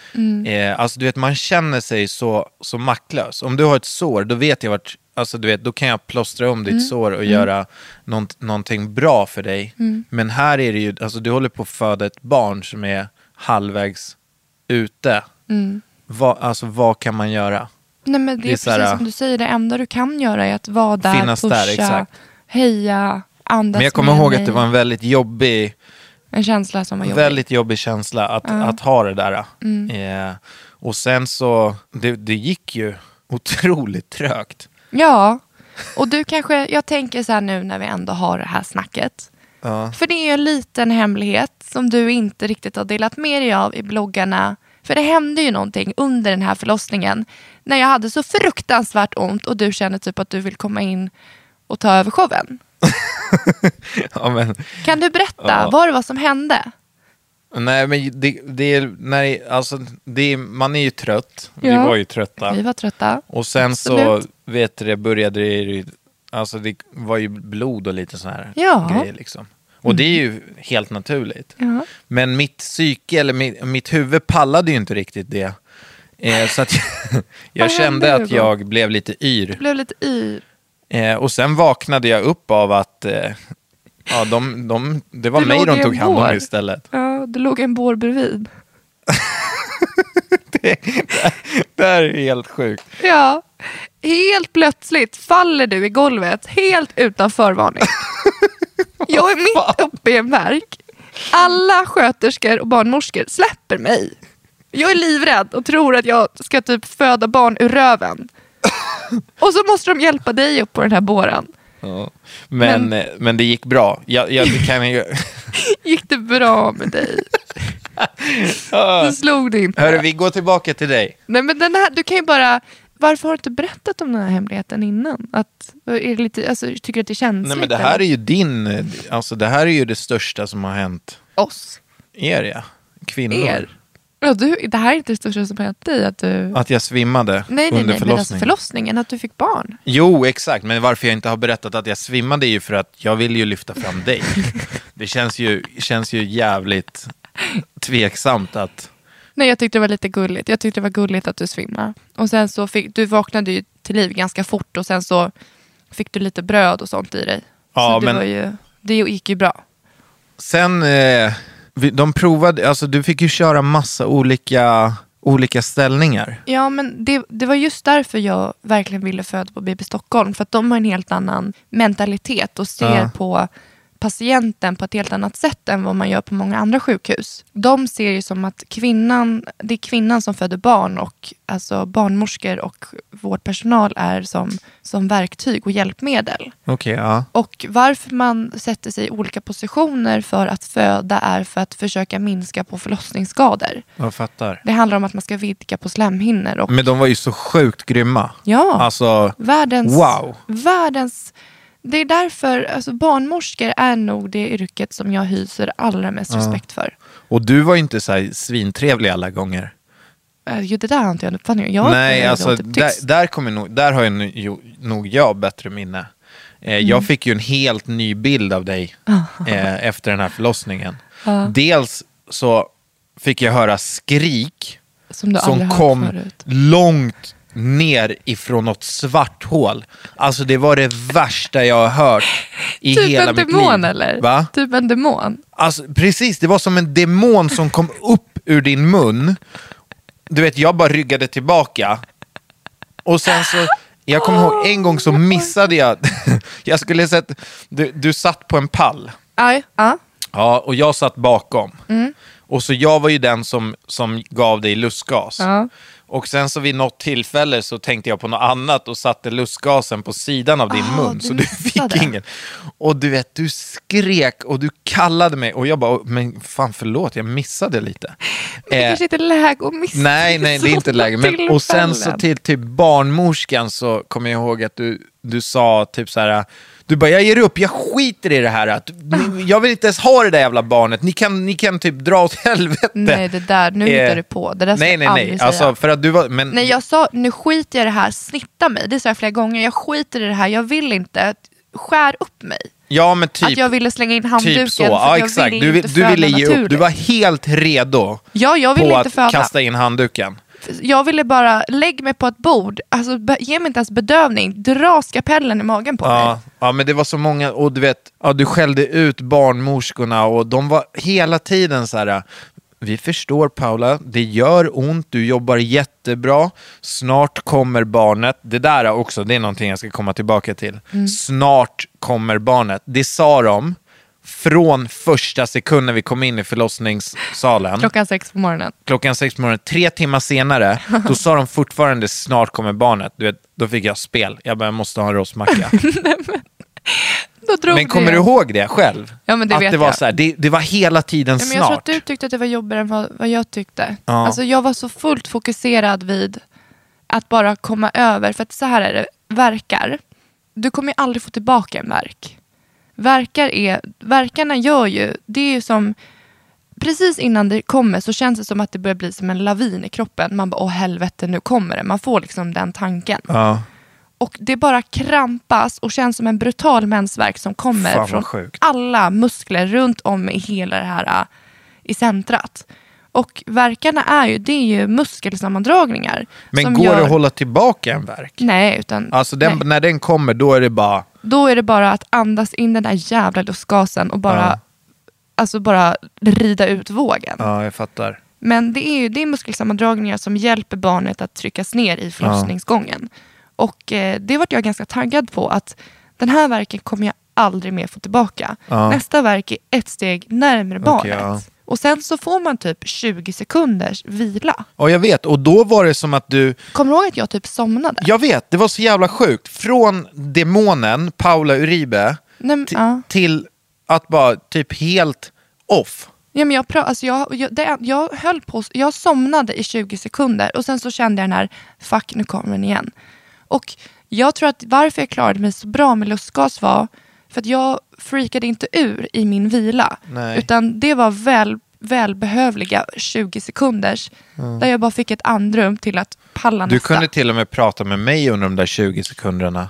Speaker 3: Eh, alltså du vet, man känner sig så, så maktlös. Om du har ett sår, då vet jag vart alltså du vet, då kan jag plåstra om ditt sår och göra någon, någonting bra för dig. Men här är det ju, alltså du håller på att föda ett barn som är halvvägs ute. Vad- alltså vad kan man göra?
Speaker 4: Nej, men det,
Speaker 3: Det är
Speaker 4: är
Speaker 3: så här,
Speaker 4: precis som du säger, det enda du kan göra är att vara där,
Speaker 3: Finnas
Speaker 4: pusha,
Speaker 3: där, exakt.
Speaker 4: heja, andas
Speaker 3: Men jag kommer
Speaker 4: med
Speaker 3: ihåg att
Speaker 4: mig.
Speaker 3: det var en väldigt jobbig,
Speaker 4: en känsla som var jobbig.
Speaker 3: väldigt jobbig känsla att, att ha det där.
Speaker 4: Mm.
Speaker 3: Eh, och sen så, det, det gick ju otroligt trögt.
Speaker 4: Ja, och du kanske, jag tänker så här nu när vi ändå har det här snacket. För det är ju en liten hemlighet som du inte riktigt har delat med dig av i bloggarna. För det hände ju någonting under den här förlossningen. När jag hade så fruktansvärt ont och du kände typ att du vill komma in och ta över showen.
Speaker 3: Ja, men,
Speaker 4: Kan du berätta vad det var som hände?
Speaker 3: nej, men det, det är, nej, alltså, det är, man är ju trött. Vi
Speaker 4: Ja.
Speaker 3: var ju trötta.
Speaker 4: Vi var trötta.
Speaker 3: Och sen så
Speaker 4: Absolut.
Speaker 3: vet du, det började det ju, alltså det var ju blod och lite sådana här
Speaker 4: Ja.
Speaker 3: grejer liksom. Och det är ju helt naturligt.
Speaker 4: Ja.
Speaker 3: Men mitt psyke, eller mitt, mitt huvud pallade ju inte riktigt det. Eh, så att jag,
Speaker 4: Vad
Speaker 3: jag kände
Speaker 4: hände,
Speaker 3: att
Speaker 4: Hugo?
Speaker 3: jag blev lite yr.
Speaker 4: Det blev lite i...
Speaker 3: Eh, och sen vaknade jag upp av att eh, ja, de, de, det var
Speaker 4: Du
Speaker 3: mig
Speaker 4: låg i
Speaker 3: de
Speaker 4: en
Speaker 3: tog hand om
Speaker 4: bår.
Speaker 3: istället.
Speaker 4: Ja, det låg en bår bredvid.
Speaker 3: Det här är helt sjukt.
Speaker 4: Ja. Helt plötsligt faller du i golvet helt utan förvarning. Jag är mitt uppe i en verk. Alla sköterskor och barnmorskor släpper mig. Jag är livrädd och tror att jag ska typ föda barn ur röven. Och så måste de hjälpa dig upp på den här båren.
Speaker 3: Ja. Men, men, men det gick bra. Jag, jag det kan ju...
Speaker 4: Gick det bra med dig? Du slog dig inte.
Speaker 3: Hörru, vi går tillbaka till dig.
Speaker 4: Nej men den här, du kan ju bara, varför har du inte berättat om den här hemligheten innan? Att, är det lite, alltså, tycker du att det är känsligt?
Speaker 3: Nej men det här är
Speaker 4: eller?
Speaker 3: ju din, eh, alltså det här är ju det största som har hänt
Speaker 4: Oss.
Speaker 3: er ja. Kvinnor.
Speaker 4: Er. Ja, du, det här är inte det största som hänt dig? Att du...
Speaker 3: Att jag svimmade
Speaker 4: nej, nej,
Speaker 3: under
Speaker 4: nej, men
Speaker 3: förlossningen.
Speaker 4: alltså förlossningen, att du fick barn.
Speaker 3: Jo, exakt. Men varför jag inte har berättat att jag svimmade är ju för att jag vill ju lyfta fram dig. det känns ju, känns ju jävligt tveksamt att...
Speaker 4: Nej, jag tyckte det var lite gulligt. Jag tyckte det var gulligt att du svimmade. Och sen så fick, du vaknade ju till liv ganska fort och sen så fick du lite bröd och sånt i dig.
Speaker 3: Ja,
Speaker 4: så
Speaker 3: men-
Speaker 4: det, var ju, det gick ju bra.
Speaker 3: Sen, eh, vi- de provade, alltså du fick ju köra massa olika, olika ställningar.
Speaker 4: Ja, men det, det var just därför jag verkligen ville föda på BB Stockholm. För att de har en helt annan mentalitet och ser
Speaker 3: Ja.
Speaker 4: på patienten på ett helt annat sätt än vad man gör på många andra sjukhus. De ser ju som att kvinnan, det är kvinnan som föder barn och alltså barnmorskor och vårdpersonal är som, som verktyg och hjälpmedel.
Speaker 3: Okej, ja.
Speaker 4: Och varför man sätter sig i olika positioner för att föda är för att försöka minska på förlossningsskador.
Speaker 3: Jag fattar.
Speaker 4: Det handlar om att man ska vidga på slemhinnor och
Speaker 3: Men de var ju så sjukt grymma.
Speaker 4: Ja.
Speaker 3: Alltså,
Speaker 4: Världens...
Speaker 3: Wow.
Speaker 4: Världens... Det är därför alltså, barnmorskor är nog det yrket som jag hyser allra mest respekt för.
Speaker 3: och du var ju inte så här svintrevlig alla gånger.
Speaker 4: Eh, Jo, det där har inte jag en uppfattning om. Jag
Speaker 3: Nej,
Speaker 4: är
Speaker 3: alltså
Speaker 4: typ
Speaker 3: där,
Speaker 4: tyst.
Speaker 3: där, kommer nog, där har jag nu- jo, nog jag bättre minne. Eh,
Speaker 4: Mm.
Speaker 3: Jag fick ju en helt ny bild av dig eh, efter den här förlossningen. Dels så fick jag höra skrik
Speaker 4: Som du aldrig
Speaker 3: som
Speaker 4: hört
Speaker 3: kom
Speaker 4: förut.
Speaker 3: långt ner ifrån något svart hål. Alltså det var det värsta jag har hört i
Speaker 4: Typ
Speaker 3: hela
Speaker 4: en
Speaker 3: mitt liv.
Speaker 4: demon eller?
Speaker 3: Va?
Speaker 4: Typ en demon.
Speaker 3: Alltså, precis, det var som en demon som kom upp ur din mun. Du vet, jag bara ryggade tillbaka. Och sen så, jag kommer ihåg en gång så missade jag. jag skulle sett, du, du satt på en pall.
Speaker 4: Aj, ja.
Speaker 3: Ja, och jag satt bakom.
Speaker 4: Mm.
Speaker 3: Och så jag var ju den som, som gav dig lustgas.
Speaker 4: Ja.
Speaker 3: Och sen så vid något tillfälle så tänkte jag på något annat och satte lustgasen på sidan av din
Speaker 4: Ah,
Speaker 3: mun.
Speaker 4: du
Speaker 3: så du
Speaker 4: missade.
Speaker 3: fick ingen. Och du vet, du skrek och du kallade mig. Och jag bara, men fan förlåt, jag missade lite.
Speaker 4: Men det
Speaker 3: Eh,
Speaker 4: kanske inte är läge att missa
Speaker 3: Nej, nej, det är inte
Speaker 4: sådana
Speaker 3: läge. Men, och sen så
Speaker 4: tillfällen.
Speaker 3: till, till barnmorskan så kommer jag ihåg att du, du sa typ så här, du bara, jag ger upp, jag skiter i det här. Att, ni, jag vill inte ens ha det där jävla barnet, ni kan, ni kan typ dra åt helvete.
Speaker 4: Nej, det där, nu hittar du på. Det där ska
Speaker 3: Eh, nej, nej,
Speaker 4: jag
Speaker 3: nej.
Speaker 4: aldrig säga.
Speaker 3: Alltså, för att du var, men,
Speaker 4: Nej, jag sa nu skiter jag i det här, snitta mig. Det sa jag flera gånger. Jag skiter i det här, jag vill inte. Skär upp mig.
Speaker 3: ja, men typ,
Speaker 4: att jag ville slänga in handduken
Speaker 3: typ så.
Speaker 4: för
Speaker 3: Ja,
Speaker 4: att jag
Speaker 3: exakt.
Speaker 4: ville
Speaker 3: Du,
Speaker 4: inte
Speaker 3: vill- du
Speaker 4: föda
Speaker 3: ville ge upp,
Speaker 4: naturligt.
Speaker 3: du var helt redo
Speaker 4: Ja, jag ville
Speaker 3: på
Speaker 4: inte
Speaker 3: att
Speaker 4: föda.
Speaker 3: kasta in handduken.
Speaker 4: F- Jag ville bara, lägg mig på ett bord, alltså, be- ge mig inte ens bedövning, dra skapellen i magen på mig.
Speaker 3: Ja, ja, men det var så många, och du vet, ja, du skällde ut barnmorskorna och de var hela tiden så här, vi förstår Paula, det gör ont, du jobbar jättebra, snart kommer barnet. Det där också, det är någonting jag ska komma tillbaka till.
Speaker 4: Mm.
Speaker 3: Snart kommer barnet. Det sa de från första sekunden vi kom in i förlossningssalen.
Speaker 4: Klockan sex på morgonen.
Speaker 3: Klockan sex på morgonen, tre timmar senare, då sa de fortfarande snart kommer barnet. Du vet, då fick jag spel. Jag bara, jag måste ha en rostmacka.
Speaker 4: Då drog
Speaker 3: Men kommer
Speaker 4: det.
Speaker 3: du ihåg det själv?
Speaker 4: Ja, men det
Speaker 3: att
Speaker 4: vet
Speaker 3: det var
Speaker 4: jag.
Speaker 3: så här, det, det var hela tiden
Speaker 4: Ja, men jag tror att
Speaker 3: snart.
Speaker 4: du tyckte att det var jobbigare än vad, vad jag tyckte.
Speaker 3: Ja.
Speaker 4: Alltså, jag var så fullt fokuserad vid att bara komma över. För att så här är det, verkar. Du kommer ju aldrig få tillbaka en verk. Verkar är, verkarna gör ju, det är ju som, precis innan det kommer så känns det som att det börjar bli som en lavin i kroppen. Man bara, åh helvete nu kommer det. Man får liksom den tanken.
Speaker 3: Ja,
Speaker 4: Och det bara krampas och känns som en brutal mensvärk som kommer
Speaker 3: Fan, vad
Speaker 4: från
Speaker 3: sjukt.
Speaker 4: alla muskler runt om i hela det här äh, i centrat. Och verkarna är ju, det är ju muskelsammandragningar.
Speaker 3: men
Speaker 4: som
Speaker 3: går
Speaker 4: gör-
Speaker 3: det att hålla tillbaka en verk?
Speaker 4: Nej, utan
Speaker 3: Alltså den,
Speaker 4: nej.
Speaker 3: när den kommer, då är det bara...
Speaker 4: då är det bara att andas in den där jävla lustgasen och bara,
Speaker 3: Ja.
Speaker 4: alltså bara rida ut vågen.
Speaker 3: Ja, jag fattar.
Speaker 4: Men det är ju det är muskelsammandragningar som hjälper barnet att tryckas ner i förlossningsgången. Och eh, det vart jag ganska taggad på att den här verken kommer jag aldrig mer få tillbaka.
Speaker 3: Ja.
Speaker 4: Nästa verk är ett steg närmare barnet.
Speaker 3: ja.
Speaker 4: Och sen så får man typ 20 sekunders vila.
Speaker 3: Ja, jag vet. Och då var det som att du...
Speaker 4: Kommer du ihåg att jag typ somnade?
Speaker 3: Jag vet, det var så jävla sjukt. Från demonen Paula Uribe
Speaker 4: Nej, men,
Speaker 3: ti-
Speaker 4: ja.
Speaker 3: till att bara typ helt off.
Speaker 4: Ja, men jag, pra- alltså jag, jag, det, jag höll på, jag somnade i 20 sekunder och sen så kände jag den här, fuck nu kommer den igen. Och jag tror att varför jag klarade mig så bra med lustgas var för att jag freakade inte ur i min vila.
Speaker 3: Nej.
Speaker 4: Utan det var väl, välbehövliga 20 sekunders där jag bara fick ett andrum till att palla
Speaker 3: Du
Speaker 4: nästa.
Speaker 3: kunde till och med prata med mig under de där 20 sekunderna.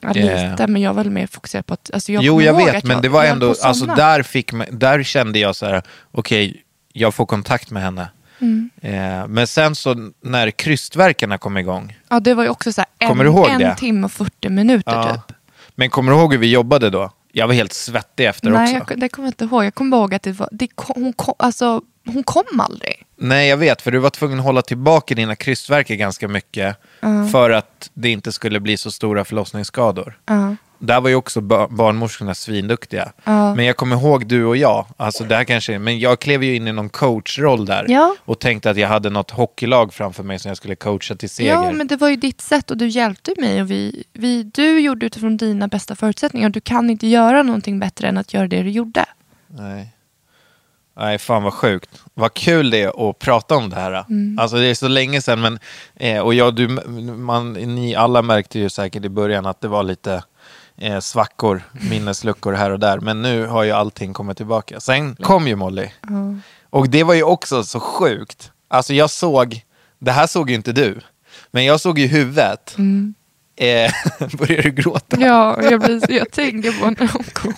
Speaker 4: ja, lite, men jag var väl mer fokuserad på att... Alltså jag
Speaker 3: jo,
Speaker 4: kommer
Speaker 3: jag
Speaker 4: ihåg
Speaker 3: vet,
Speaker 4: att
Speaker 3: men
Speaker 4: jag-
Speaker 3: det var
Speaker 4: jag höll på
Speaker 3: ändå,
Speaker 4: att
Speaker 3: alltså
Speaker 4: somna.
Speaker 3: där, fick man, där kände jag så här, okej, jag får kontakt med henne.
Speaker 4: Mm.
Speaker 3: Eh, men sen så när krystverkarna kom igång,
Speaker 4: Ja, det var ju också så här,
Speaker 3: Kommer
Speaker 4: en,
Speaker 3: du ihåg
Speaker 4: en
Speaker 3: det?
Speaker 4: timme och 40 minuter
Speaker 3: ja.
Speaker 4: typ.
Speaker 3: men kommer du ihåg hur vi jobbade då? Jag var helt svettig efter
Speaker 4: Nej,
Speaker 3: också.
Speaker 4: jag, det kommer jag inte ihåg. Jag kommer bara ihåg att det var, det kom, hon, kom, alltså, hon kom aldrig.
Speaker 3: Nej, jag vet, för du var tvungen att hålla tillbaka dina krystverkar ganska mycket för att det inte skulle bli så stora förlossningsskador. Där var ju också ba- barnmorskorna svinduktiga. Men jag kommer ihåg du och jag, alltså det här kanske, men jag klev ju in i någon coachroll där
Speaker 4: Ja.
Speaker 3: och tänkte att jag hade något hockeylag framför mig som jag skulle coacha till seger.
Speaker 4: Ja, men det var ju ditt sätt och du hjälpte mig. Och vi, vi, du gjorde utifrån dina bästa förutsättningar. Du kan inte göra någonting bättre än att göra det du gjorde.
Speaker 3: Nej. Nej, fan vad sjukt. Vad kul det är att prata om det här. Alltså det är så länge sedan, men, eh, och jag, du, man, ni alla märkte ju säkert i början att det var lite eh, svackor, minnesluckor här och där. Men nu har ju allting kommit tillbaka. Sen kom ju Molly. Och det var ju också så sjukt. Alltså jag såg, det här såg ju inte du, men jag såg ju huvudet. Eh, börjar du gråta?
Speaker 4: Ja, jag, blir, jag tänkte på när hon kom.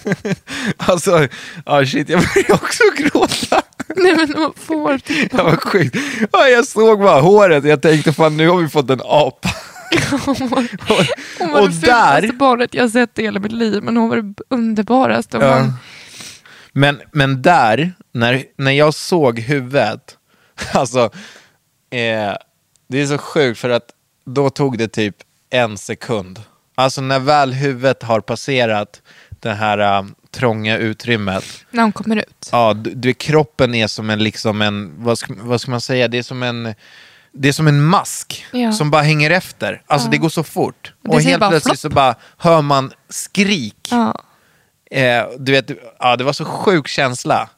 Speaker 3: Alltså, ja shit, jag börjar också gråta.
Speaker 4: Nej, men hon får typ.
Speaker 3: Det var sjukt. Ja, jag såg bara håret jag tänkte fan nu har vi fått en apa.
Speaker 4: Hon var
Speaker 3: Och
Speaker 4: det fulaste
Speaker 3: där,
Speaker 4: barnet jag sett i hela mitt liv. Men hon var det underbaraste. Och
Speaker 3: Ja.
Speaker 4: man,
Speaker 3: men, men där, när, när jag såg huvudet, alltså, eh, det är så sjukt för att då tog det typ en sekund. Alltså när väl huvudet har passerat det här eh, trånga utrymmet,
Speaker 4: när hon kommer ut.
Speaker 3: Ja, du, du, kroppen är som en, liksom en vad, ska, vad ska man säga, det är som en, det är som en mask
Speaker 4: Ja.
Speaker 3: som bara hänger efter. Alltså det går så fort.
Speaker 4: Det
Speaker 3: Och
Speaker 4: säger
Speaker 3: helt
Speaker 4: bara
Speaker 3: plötsligt så bara hör man skrik.
Speaker 4: Ja.
Speaker 3: Eh, du vet, ja, det var så sjuk känsla.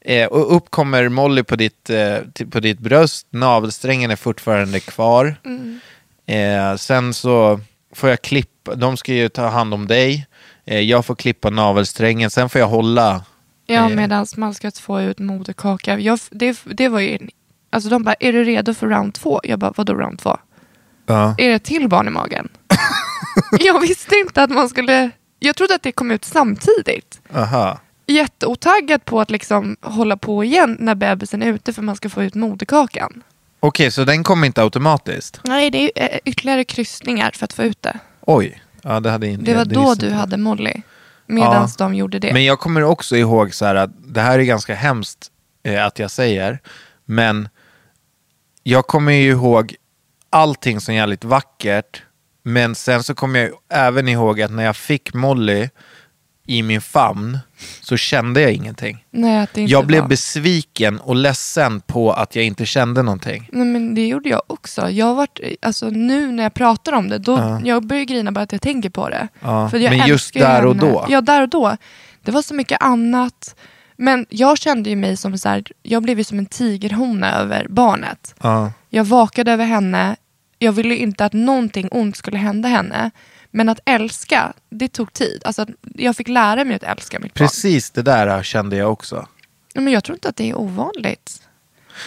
Speaker 3: Eh, och upp kommer Molly på ditt, eh, till- på ditt bröst, navelsträngen är fortfarande kvar.
Speaker 4: Mm.
Speaker 3: Eh, sen så får jag klippa, de ska ju ta hand om dig. Eh, jag får klippa navelsträngen, sen får jag hålla
Speaker 4: Ja,
Speaker 3: Eh.
Speaker 4: medan man ska få ut moderkaka. Jag, det, det var ju... en- Alltså de bara, är du redo för round två? Jag bara, vadå round två?
Speaker 3: Ja.
Speaker 4: Är det ett till barn i magen? jag visste inte att man skulle... Jag trodde att det kom ut samtidigt.
Speaker 3: Aha.
Speaker 4: Jätteotaggad på att liksom hålla på igen när bebisen är ute för man ska få ut moderkakan.
Speaker 3: Okej, så den kom inte automatiskt?
Speaker 4: Nej, det är eh, ytterligare kryssningar för att få ut det.
Speaker 3: Oj. Ja, det hade inte
Speaker 4: Det var
Speaker 3: jag-
Speaker 4: då
Speaker 3: visste
Speaker 4: du
Speaker 3: inte.
Speaker 4: hade Molly. Medan de gjorde det.
Speaker 3: Men jag kommer också ihåg så här att det här är ganska hemskt eh, att jag säger, men jag kommer ju ihåg allting som jävligt vackert, men sen så kommer jag ju även ihåg att när jag fick Molly i min famn så kände jag ingenting.
Speaker 4: Nej, att det inte
Speaker 3: Jag blev
Speaker 4: var.
Speaker 3: besviken och ledsen på att jag inte kände någonting.
Speaker 4: Nej, men det gjorde jag också. Jag vart, alltså, nu när jag pratar om det, då, jag börjar grina bara att jag tänker på det.
Speaker 3: Ja,
Speaker 4: För jag
Speaker 3: men just
Speaker 4: älskar ju
Speaker 3: där och
Speaker 4: henne.
Speaker 3: då?
Speaker 4: Ja, där och då. Det var så mycket annat. Men jag kände ju mig som så här, jag blev ju som en tigerhona över barnet.
Speaker 3: Ja.
Speaker 4: Jag vakade över henne. Jag ville ju inte att någonting ont skulle hända henne. Men att älska, det tog tid. Alltså, att jag fick lära mig att älska mitt barn.
Speaker 3: Precis det där kände jag också.
Speaker 4: Nej, Men jag tror inte att det är ovanligt.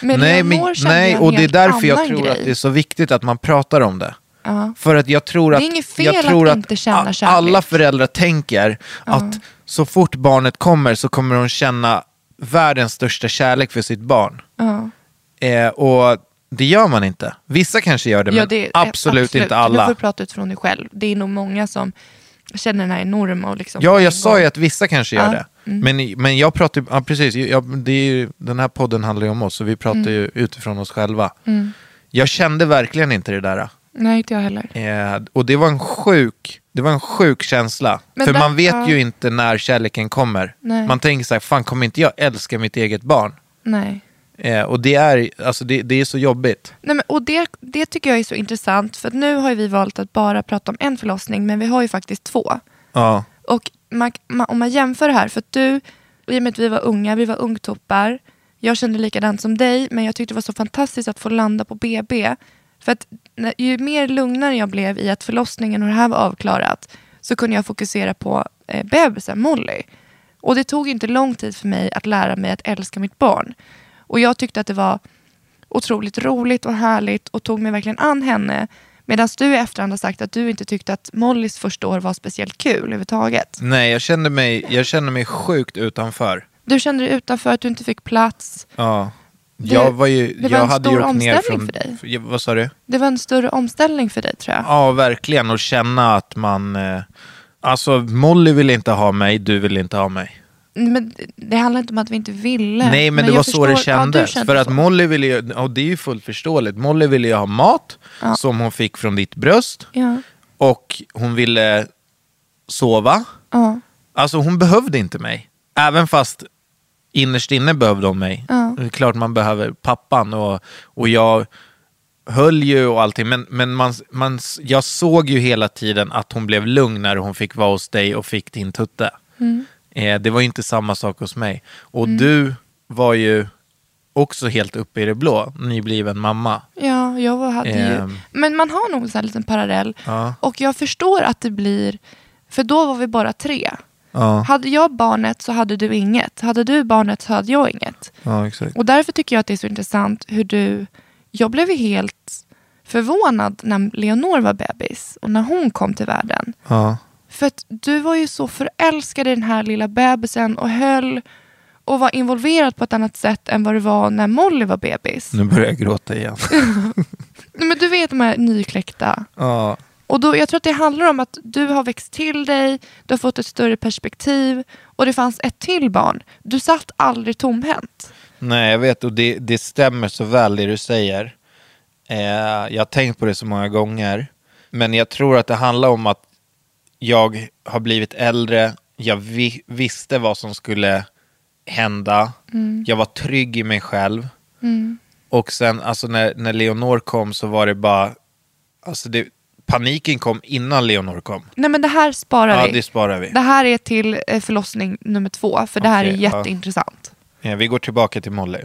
Speaker 4: Men
Speaker 3: nej,
Speaker 4: Leonor
Speaker 3: men,
Speaker 4: kände
Speaker 3: nej
Speaker 4: en
Speaker 3: och det är
Speaker 4: helt
Speaker 3: därför jag
Speaker 4: annan
Speaker 3: tror
Speaker 4: grej.
Speaker 3: att det är så viktigt att man pratar om det.
Speaker 4: Ja.
Speaker 3: För att jag tror
Speaker 4: Det
Speaker 3: att,
Speaker 4: är inget fel
Speaker 3: jag
Speaker 4: att
Speaker 3: tror
Speaker 4: inte känna
Speaker 3: a-
Speaker 4: kärlek.
Speaker 3: alla föräldrar tänker att så fort barnet kommer så kommer de känna världens största kärlek för sitt barn.
Speaker 4: Ja.
Speaker 3: Eh, och det gör man inte. Vissa kanske gör det, men
Speaker 4: det- eh,
Speaker 3: absolut, inte
Speaker 4: Du
Speaker 3: alla.
Speaker 4: får prata utifrån dig själv. Det är nog många som känner den här enorma och liksom...
Speaker 3: Ja, jag sa ju att vissa kanske gör
Speaker 4: Ja, Mm.
Speaker 3: det. Men, men jag pratar ju- ja, precis, jag, det är ju, den här podden handlar ju om oss, så vi
Speaker 4: Mm.
Speaker 3: pratar ju utifrån oss själva. Jag kände verkligen inte det där.
Speaker 4: Nej, inte jag heller.
Speaker 3: Eh, och det var en sjuk, det var en sjuk känsla.
Speaker 4: Men
Speaker 3: För
Speaker 4: där-
Speaker 3: man vet
Speaker 4: ja.
Speaker 3: ju inte när kärleken kommer.
Speaker 4: Nej.
Speaker 3: Man tänker så här, fan kommer inte jag älska mitt eget barn?
Speaker 4: Nej.
Speaker 3: Eh, och det är, alltså det, det är så jobbigt.
Speaker 4: Nej, men, och det, det tycker jag är så intressant för att nu har ju vi valt att bara prata om en förlossning men vi har ju faktiskt två.
Speaker 3: Ja,
Speaker 4: Och man, man, om man jämför det här, för att du, i och med att vi var unga, vi var ungtoppar. Jag kände likadant som dig, men jag tyckte det var så fantastiskt att få landa på BB. För att när- ju mer lugnare jag blev i att förlossningen och det här var avklarat så kunde jag fokusera på eh, bebisen Molly. Och det tog inte lång tid för mig att lära mig att älska mitt barn. Och jag tyckte att det var otroligt roligt och härligt och tog mig verkligen an henne. Medan du i efterhand har sagt att du inte tyckte att Mollys första år var speciellt kul överhuvudtaget.
Speaker 3: nej jag kände mig, jag kände mig sjukt utanför.
Speaker 4: Du kände dig utanför, att du inte fick plats.
Speaker 3: Ja.
Speaker 4: Det-
Speaker 3: Jag var ju,
Speaker 4: det var
Speaker 3: jag
Speaker 4: en
Speaker 3: hade
Speaker 4: stor
Speaker 3: ju åkt ner
Speaker 4: omställning
Speaker 3: från,
Speaker 4: för dig.
Speaker 3: Ja, Vad sa du?
Speaker 4: Det var en större omställning för dig tror jag.
Speaker 3: Ja, verkligen. Och känna att man... Eh, alltså, Molly vill inte ha mig, du vill inte ha mig.
Speaker 4: Men det handlar inte om att vi inte ville.
Speaker 3: Nej, men, det
Speaker 4: jag
Speaker 3: var så det
Speaker 4: förstår- ja, du
Speaker 3: kändes.
Speaker 4: kände
Speaker 3: för att
Speaker 4: så.
Speaker 3: Molly ville ju, och det är ju fullt förståeligt, Molly ville ju ha mat som hon fick från ditt bröst.
Speaker 4: Ja.
Speaker 3: Och hon ville sova.
Speaker 4: Ja.
Speaker 3: Alltså hon behövde inte mig. Även fast innerst inne behövde hon mig.
Speaker 4: Ja.
Speaker 3: Det är klart man behöver pappan och, och jag höll ju och allting. Men, men man, man, jag såg ju hela tiden att hon blev lugn när hon fick vara hos dig och fick din tutte. Eh, det var ju inte samma sak hos mig. Och du var ju också helt uppe i det blå, nybliven mamma.
Speaker 4: Ja, jag var, hade ju...
Speaker 3: Ehm.
Speaker 4: Men man har nog en sån här liten parallell.
Speaker 3: Ja.
Speaker 4: Och jag förstår att det blir... För då var vi bara tre.
Speaker 3: Ja,
Speaker 4: Hade jag barnet så hade du inget. Hade du barnet så hade jag inget.
Speaker 3: ja exakt.
Speaker 4: Och därför tycker jag att det är så intressant hur du... Jag blev ju helt förvånad när Leonor var bebis och när hon kom till världen.
Speaker 3: Ja.
Speaker 4: För att du var ju så förälskad i den här lilla bebisen och höll och var involverad på ett annat sätt än vad du var när Molly var bebis.
Speaker 3: Nu börjar jag gråta igen.
Speaker 4: Nej, Men du vet de här nykläckta.
Speaker 3: ja.
Speaker 4: Och då, jag tror att det handlar om att du har växt till dig, du har fått ett större perspektiv och det fanns ett till barn. Du satt aldrig tomhänt.
Speaker 3: Nej, jag vet och det, det stämmer så väl det du säger. Eh, jag har tänkt på det så många gånger. Men jag tror att det handlar om att jag har blivit äldre, jag vi, visste vad som skulle hända,
Speaker 4: Mm.
Speaker 3: jag var trygg i mig själv. Och sen alltså när, när Leonor kom så var det bara, alltså det, paniken kom innan Leonor kom.
Speaker 4: Nej men det här sparar
Speaker 3: Ja,
Speaker 4: vi.
Speaker 3: det sparar vi.
Speaker 4: Det här är till eh, förlossning nummer två, för det här är
Speaker 3: Okej, ja.
Speaker 4: jätteintressant.
Speaker 3: Eh, vi går tillbaka till Molly.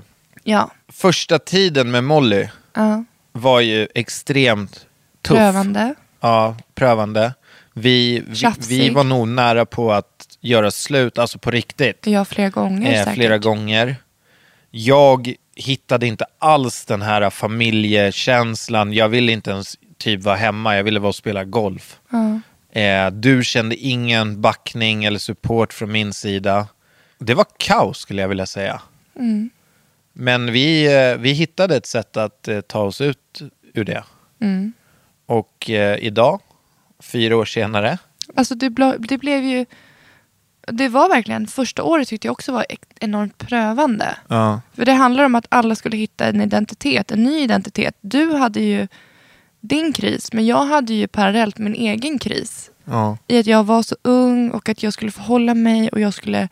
Speaker 4: Ja,
Speaker 3: Första tiden med Molly
Speaker 4: ja.
Speaker 3: var ju extremt tuff.
Speaker 4: prövande.
Speaker 3: Ja, prövande. Vi, vi,
Speaker 4: Tjafsig.
Speaker 3: vi var nog nära på att göra slut, alltså på riktigt,
Speaker 4: Ja, flera gånger
Speaker 3: eh,
Speaker 4: säkert.
Speaker 3: flera gånger. Jag hittade inte alls den här familjekänslan. Jag ville inte ens typ vara hemma, jag ville vara och spela golf. Eh, du kände ingen
Speaker 4: Mm.
Speaker 3: backning eller support från min sida. Det var kaos skulle jag vilja säga. Men vi, eh, vi hittade ett sätt att eh, ta oss ut ur det.
Speaker 4: Mm.
Speaker 3: Och eh, idag, fyra år senare,
Speaker 4: Alltså det, bla, det blev ju... Det var verkligen, första året tyckte jag också var ek- enormt prövande.
Speaker 3: ja.
Speaker 4: För det handlar om att alla skulle hitta en identitet, en ny identitet. Du hade ju din kris, men jag hade ju parallellt min egen kris.
Speaker 3: Ja.
Speaker 4: I att jag var så ung och att jag skulle förhålla mig och jag skulle...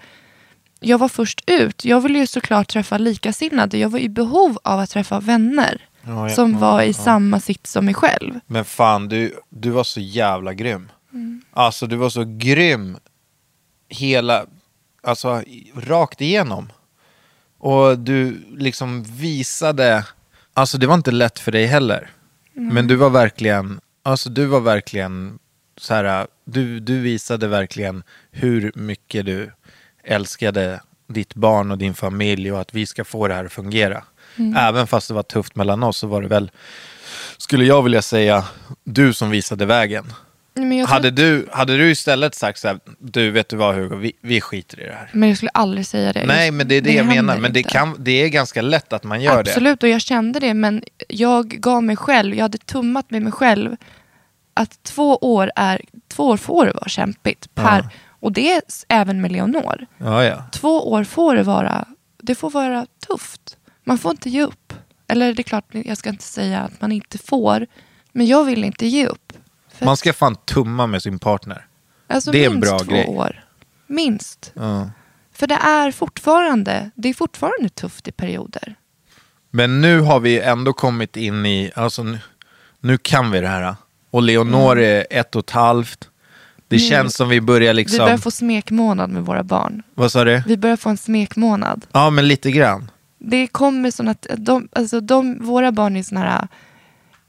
Speaker 4: Jag var först ut. Jag ville ju såklart träffa likasinnade. Jag var i behov av att träffa vänner
Speaker 3: Ja, ja,
Speaker 4: som
Speaker 3: ja,
Speaker 4: var i
Speaker 3: ja.
Speaker 4: samma sits som mig själv.
Speaker 3: Men fan, du, du var så jävla grym. Alltså, du var så grym hela, alltså i- rakt igenom. Och du liksom visade, alltså det var inte lätt för dig heller. Men du var verkligen, alltså du var verkligen så här, du, du visade verkligen hur mycket du älskade ditt barn och din familj och att vi ska få det här att fungera. Även fast det var tufft mellan oss så var det väl skulle jag vilja säga, du som visade vägen.
Speaker 4: Men jag, tror-
Speaker 3: Hade du, hade du istället sagt så här, du vet du vad Hugo, vi, vi skiter i det här.
Speaker 4: men jag skulle aldrig säga det.
Speaker 3: Nej,
Speaker 4: Just-
Speaker 3: men det är det, jag
Speaker 4: händer
Speaker 3: menar. Men det,
Speaker 4: inte.
Speaker 3: kan, det är ganska lätt att man gör det.
Speaker 4: Absolut, och jag kände det. Men jag gav mig själv, jag hade tummat med mig själv att två år, är, två år får det vara kämpigt. Per, Och det är s- även med Leonor.
Speaker 3: Ja, ja.
Speaker 4: Två år får det vara, det får vara tufft. Man får inte ge upp. Eller det är klart, jag ska inte säga att man inte får. Men jag vill inte ge upp. För
Speaker 3: Man
Speaker 4: att-
Speaker 3: ska fan tumma med sin partner.
Speaker 4: alltså
Speaker 3: det är en
Speaker 4: minst
Speaker 3: bra
Speaker 4: två
Speaker 3: grej.
Speaker 4: år. Minst.
Speaker 3: Ja.
Speaker 4: För det är fortfarande, det är fortfarande tufft i perioder.
Speaker 3: Men nu har vi ändå kommit in i, alltså nu, nu kan vi det här. Och Leonor
Speaker 4: Mm.
Speaker 3: är ett och ett halvt. Det känns som vi börjar
Speaker 4: Vi
Speaker 3: liksom,
Speaker 4: börjar få smekmånad med våra barn.
Speaker 3: vad sa du?
Speaker 4: Vi börjar få en smekmånad.
Speaker 3: Ja, men lite grann.
Speaker 4: Det kommer sådana att de, alltså de, våra barn är sådana här,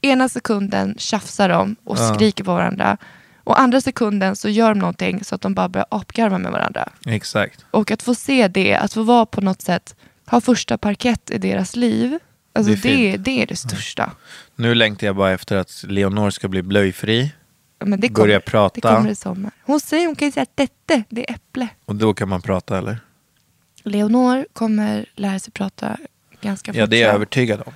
Speaker 4: ena sekunden tjafsar de och skriker på varandra. Och andra sekunden så gör de någonting så att de bara börjar apgarva med varandra.
Speaker 3: Exakt.
Speaker 4: Och att få se det, att få vara på något sätt, ha första parkett i deras liv. Alltså
Speaker 3: Det är
Speaker 4: det, det,
Speaker 3: fint.
Speaker 4: är det största.
Speaker 3: Nu längtar jag bara efter att Leonor ska bli blöjfri.
Speaker 4: Men det kommer,
Speaker 3: Börja prata.
Speaker 4: Det kommer i sommar. Hon säger, hon kan ju säga att detta, det är äpple.
Speaker 3: Och då kan man prata eller?
Speaker 4: Leonor kommer lära sig prata ganska fort.
Speaker 3: Ja, det är jag
Speaker 4: fram.
Speaker 3: övertygad om.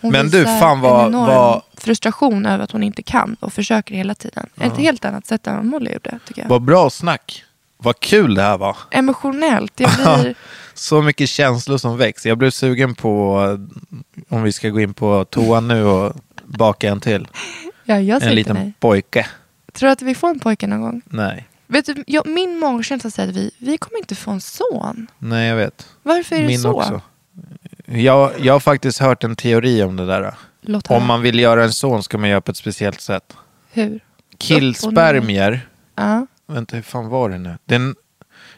Speaker 4: Hon
Speaker 3: Men du,
Speaker 4: visar
Speaker 3: fan vad-
Speaker 4: en enorm
Speaker 3: vad-
Speaker 4: frustration över att hon inte kan och försöker hela tiden. Ett helt annat sätt än vad Molly gjorde, tycker jag.
Speaker 3: Vad bra snack. Vad kul det här var.
Speaker 4: Emotionellt. Jag blir...
Speaker 3: Så mycket känslor som väcks. Jag blev sugen på eh, om vi ska gå in på toan nu och baka en till.
Speaker 4: ja, jag
Speaker 3: En
Speaker 4: säger till
Speaker 3: liten
Speaker 4: dig.
Speaker 3: pojke.
Speaker 4: Tror du att vi får en pojke någon gång?
Speaker 3: Nej,
Speaker 4: Vet du, jag, min magkänsla säger att vi, vi kommer inte få en son.
Speaker 3: nej jag vet.
Speaker 4: Varför är det
Speaker 3: Min
Speaker 4: så?
Speaker 3: också. Jag, jag har faktiskt hört en teori om det där.
Speaker 4: Låt höra.
Speaker 3: Om man vill göra en son ska man göra på ett speciellt sätt.
Speaker 4: Hur?
Speaker 3: Killspermier.
Speaker 4: Ja.
Speaker 3: Vänta, hur fan var det nu? Den,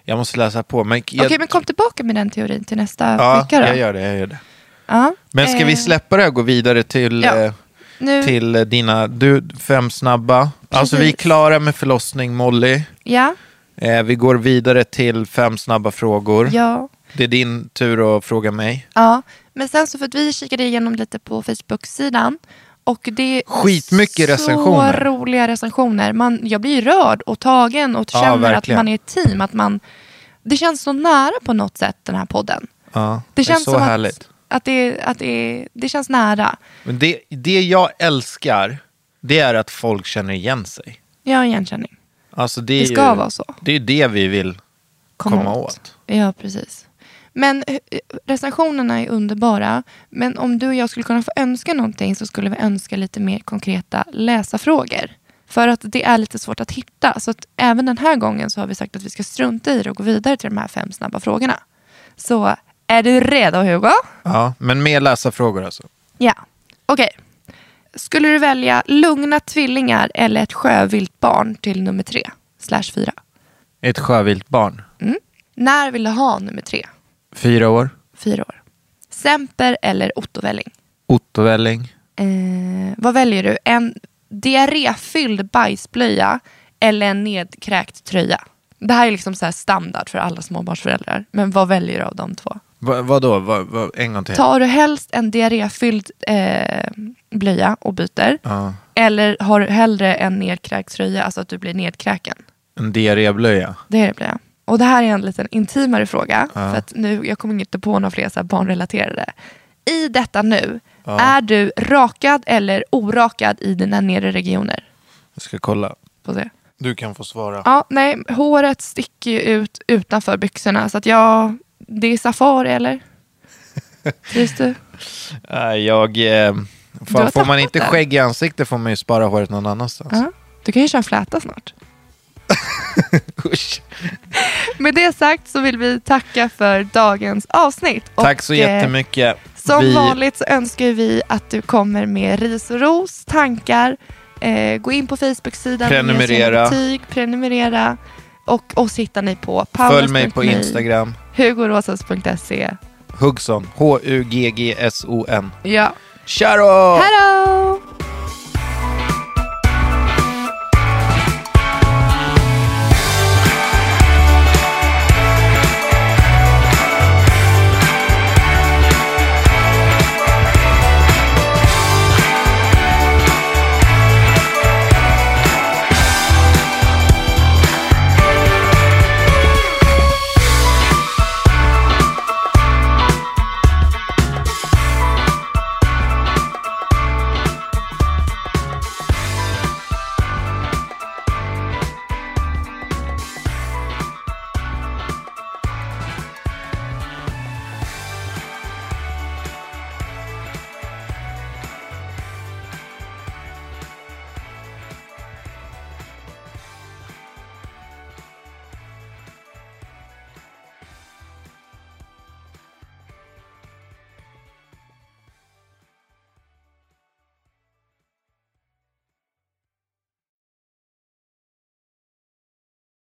Speaker 3: jag måste läsa på. Men jag,
Speaker 4: Okej, men kom tillbaka med den teorin till nästa
Speaker 3: ja,
Speaker 4: vecka då.
Speaker 3: jag gör det. Jag gör det.
Speaker 4: Ja.
Speaker 3: Men ska vi
Speaker 4: Eh,
Speaker 3: släppa det och gå vidare till,
Speaker 4: Ja.
Speaker 3: eh,
Speaker 4: nu,
Speaker 3: till eh, dina du, fem snabba? Alltså vi är
Speaker 4: Precis.
Speaker 3: klara med förlossning Molly.
Speaker 4: Ja,
Speaker 3: Eh, vi går vidare till fem snabba frågor.
Speaker 4: ja.
Speaker 3: Det är din tur att fråga mig.
Speaker 4: Ja, men sen så för att vi kikade igenom lite på Facebook-sidan och det är
Speaker 3: Skitmycket
Speaker 4: så
Speaker 3: recensioner.
Speaker 4: roliga recensioner. Man, jag blir ju rörd och tagen och
Speaker 3: Ja,
Speaker 4: känner att
Speaker 3: verkligen.
Speaker 4: man är ett team. Att man, det känns så nära på något sätt den här podden.
Speaker 3: Ja,
Speaker 4: Det känns
Speaker 3: är så
Speaker 4: som
Speaker 3: härligt.
Speaker 4: att, att, det, att det, det känns nära.
Speaker 3: Men det, det jag älskar, det är att folk känner igen sig.
Speaker 4: Jag har igenkänning.
Speaker 3: Alltså det, är
Speaker 4: Det ska
Speaker 3: ju,
Speaker 4: vara så.
Speaker 3: Det är det vi vill komma, åt.
Speaker 4: Ja, precis. Men eh, recensionerna är underbara. Men om du och jag skulle kunna få önska någonting så skulle vi önska lite mer konkreta läsarfrågor. För att det är lite svårt att hitta. Så att även den här gången så har vi sagt att vi ska strunta i det och gå vidare till de här fem snabba frågorna. Så är du redo Hugo?
Speaker 3: Ja, men mer läsarfrågor alltså.
Speaker 4: Ja. Okej. Skulle du välja lugna tvillingar eller ett sjövilt barn till nummer tre? Slash fyra. Mm.
Speaker 3: Ett sjövilt barn.
Speaker 4: När vill du ha nummer tre?
Speaker 3: Fyra år.
Speaker 4: fyra år. Semper eller Ottovälling?
Speaker 3: Ottovelling.
Speaker 4: Eh, vad väljer du? En diarréfylld bajsblöja eller en nedkräkt tröja? Det här är liksom så här standard för alla småbarnsföräldrar. Men vad väljer du av de två?
Speaker 3: Va, vadå? Va, va, en gång till.
Speaker 4: Tar du helst en diarréfylld eh, blöja och byter?
Speaker 3: Ja.
Speaker 4: Eller har du hellre en nedkräkt tröja, alltså att du blir nedkräken?
Speaker 3: En diarréblöja.
Speaker 4: Det är det blöja. och det här är en liten intimare fråga, för att nu, jag kommer inte på några fler så här barnrelaterade. I detta nu, är du rakad eller orakad i dina nedre regioner?
Speaker 3: Jag ska kolla.
Speaker 4: Får se.
Speaker 3: Du kan få svara.
Speaker 4: Ja, nej, håret sticker ju ut utanför byxorna, så att jag, det är safari eller? Trivs du?
Speaker 3: Äh, jag... Eh,
Speaker 4: Du har
Speaker 3: fan, får man
Speaker 4: tappat
Speaker 3: inte
Speaker 4: det.
Speaker 3: skägg i ansiktet får man ju spara håret någon annanstans.
Speaker 4: Ja. Du kan ju köra en fläta snart.
Speaker 3: Usch.
Speaker 4: Med det sagt så vill vi tacka för dagens avsnitt.
Speaker 3: Tack så
Speaker 4: Och, eh,
Speaker 3: jättemycket.
Speaker 4: Som
Speaker 3: Vi-
Speaker 4: vanligt så önskar vi att du kommer med ris och ros, tankar. Eh, gå in på Facebook-sidan.
Speaker 3: Prenumerera.
Speaker 4: ge oss gärna Betyg, prenumerera. Och oss hittar ni på
Speaker 3: Följ mig på
Speaker 4: powers.me,
Speaker 3: Instagram.
Speaker 4: hugorosas.se.
Speaker 3: Hugson. H-U-G-G-S-O-N.
Speaker 4: Ja.
Speaker 3: Tja då!
Speaker 4: Hej då!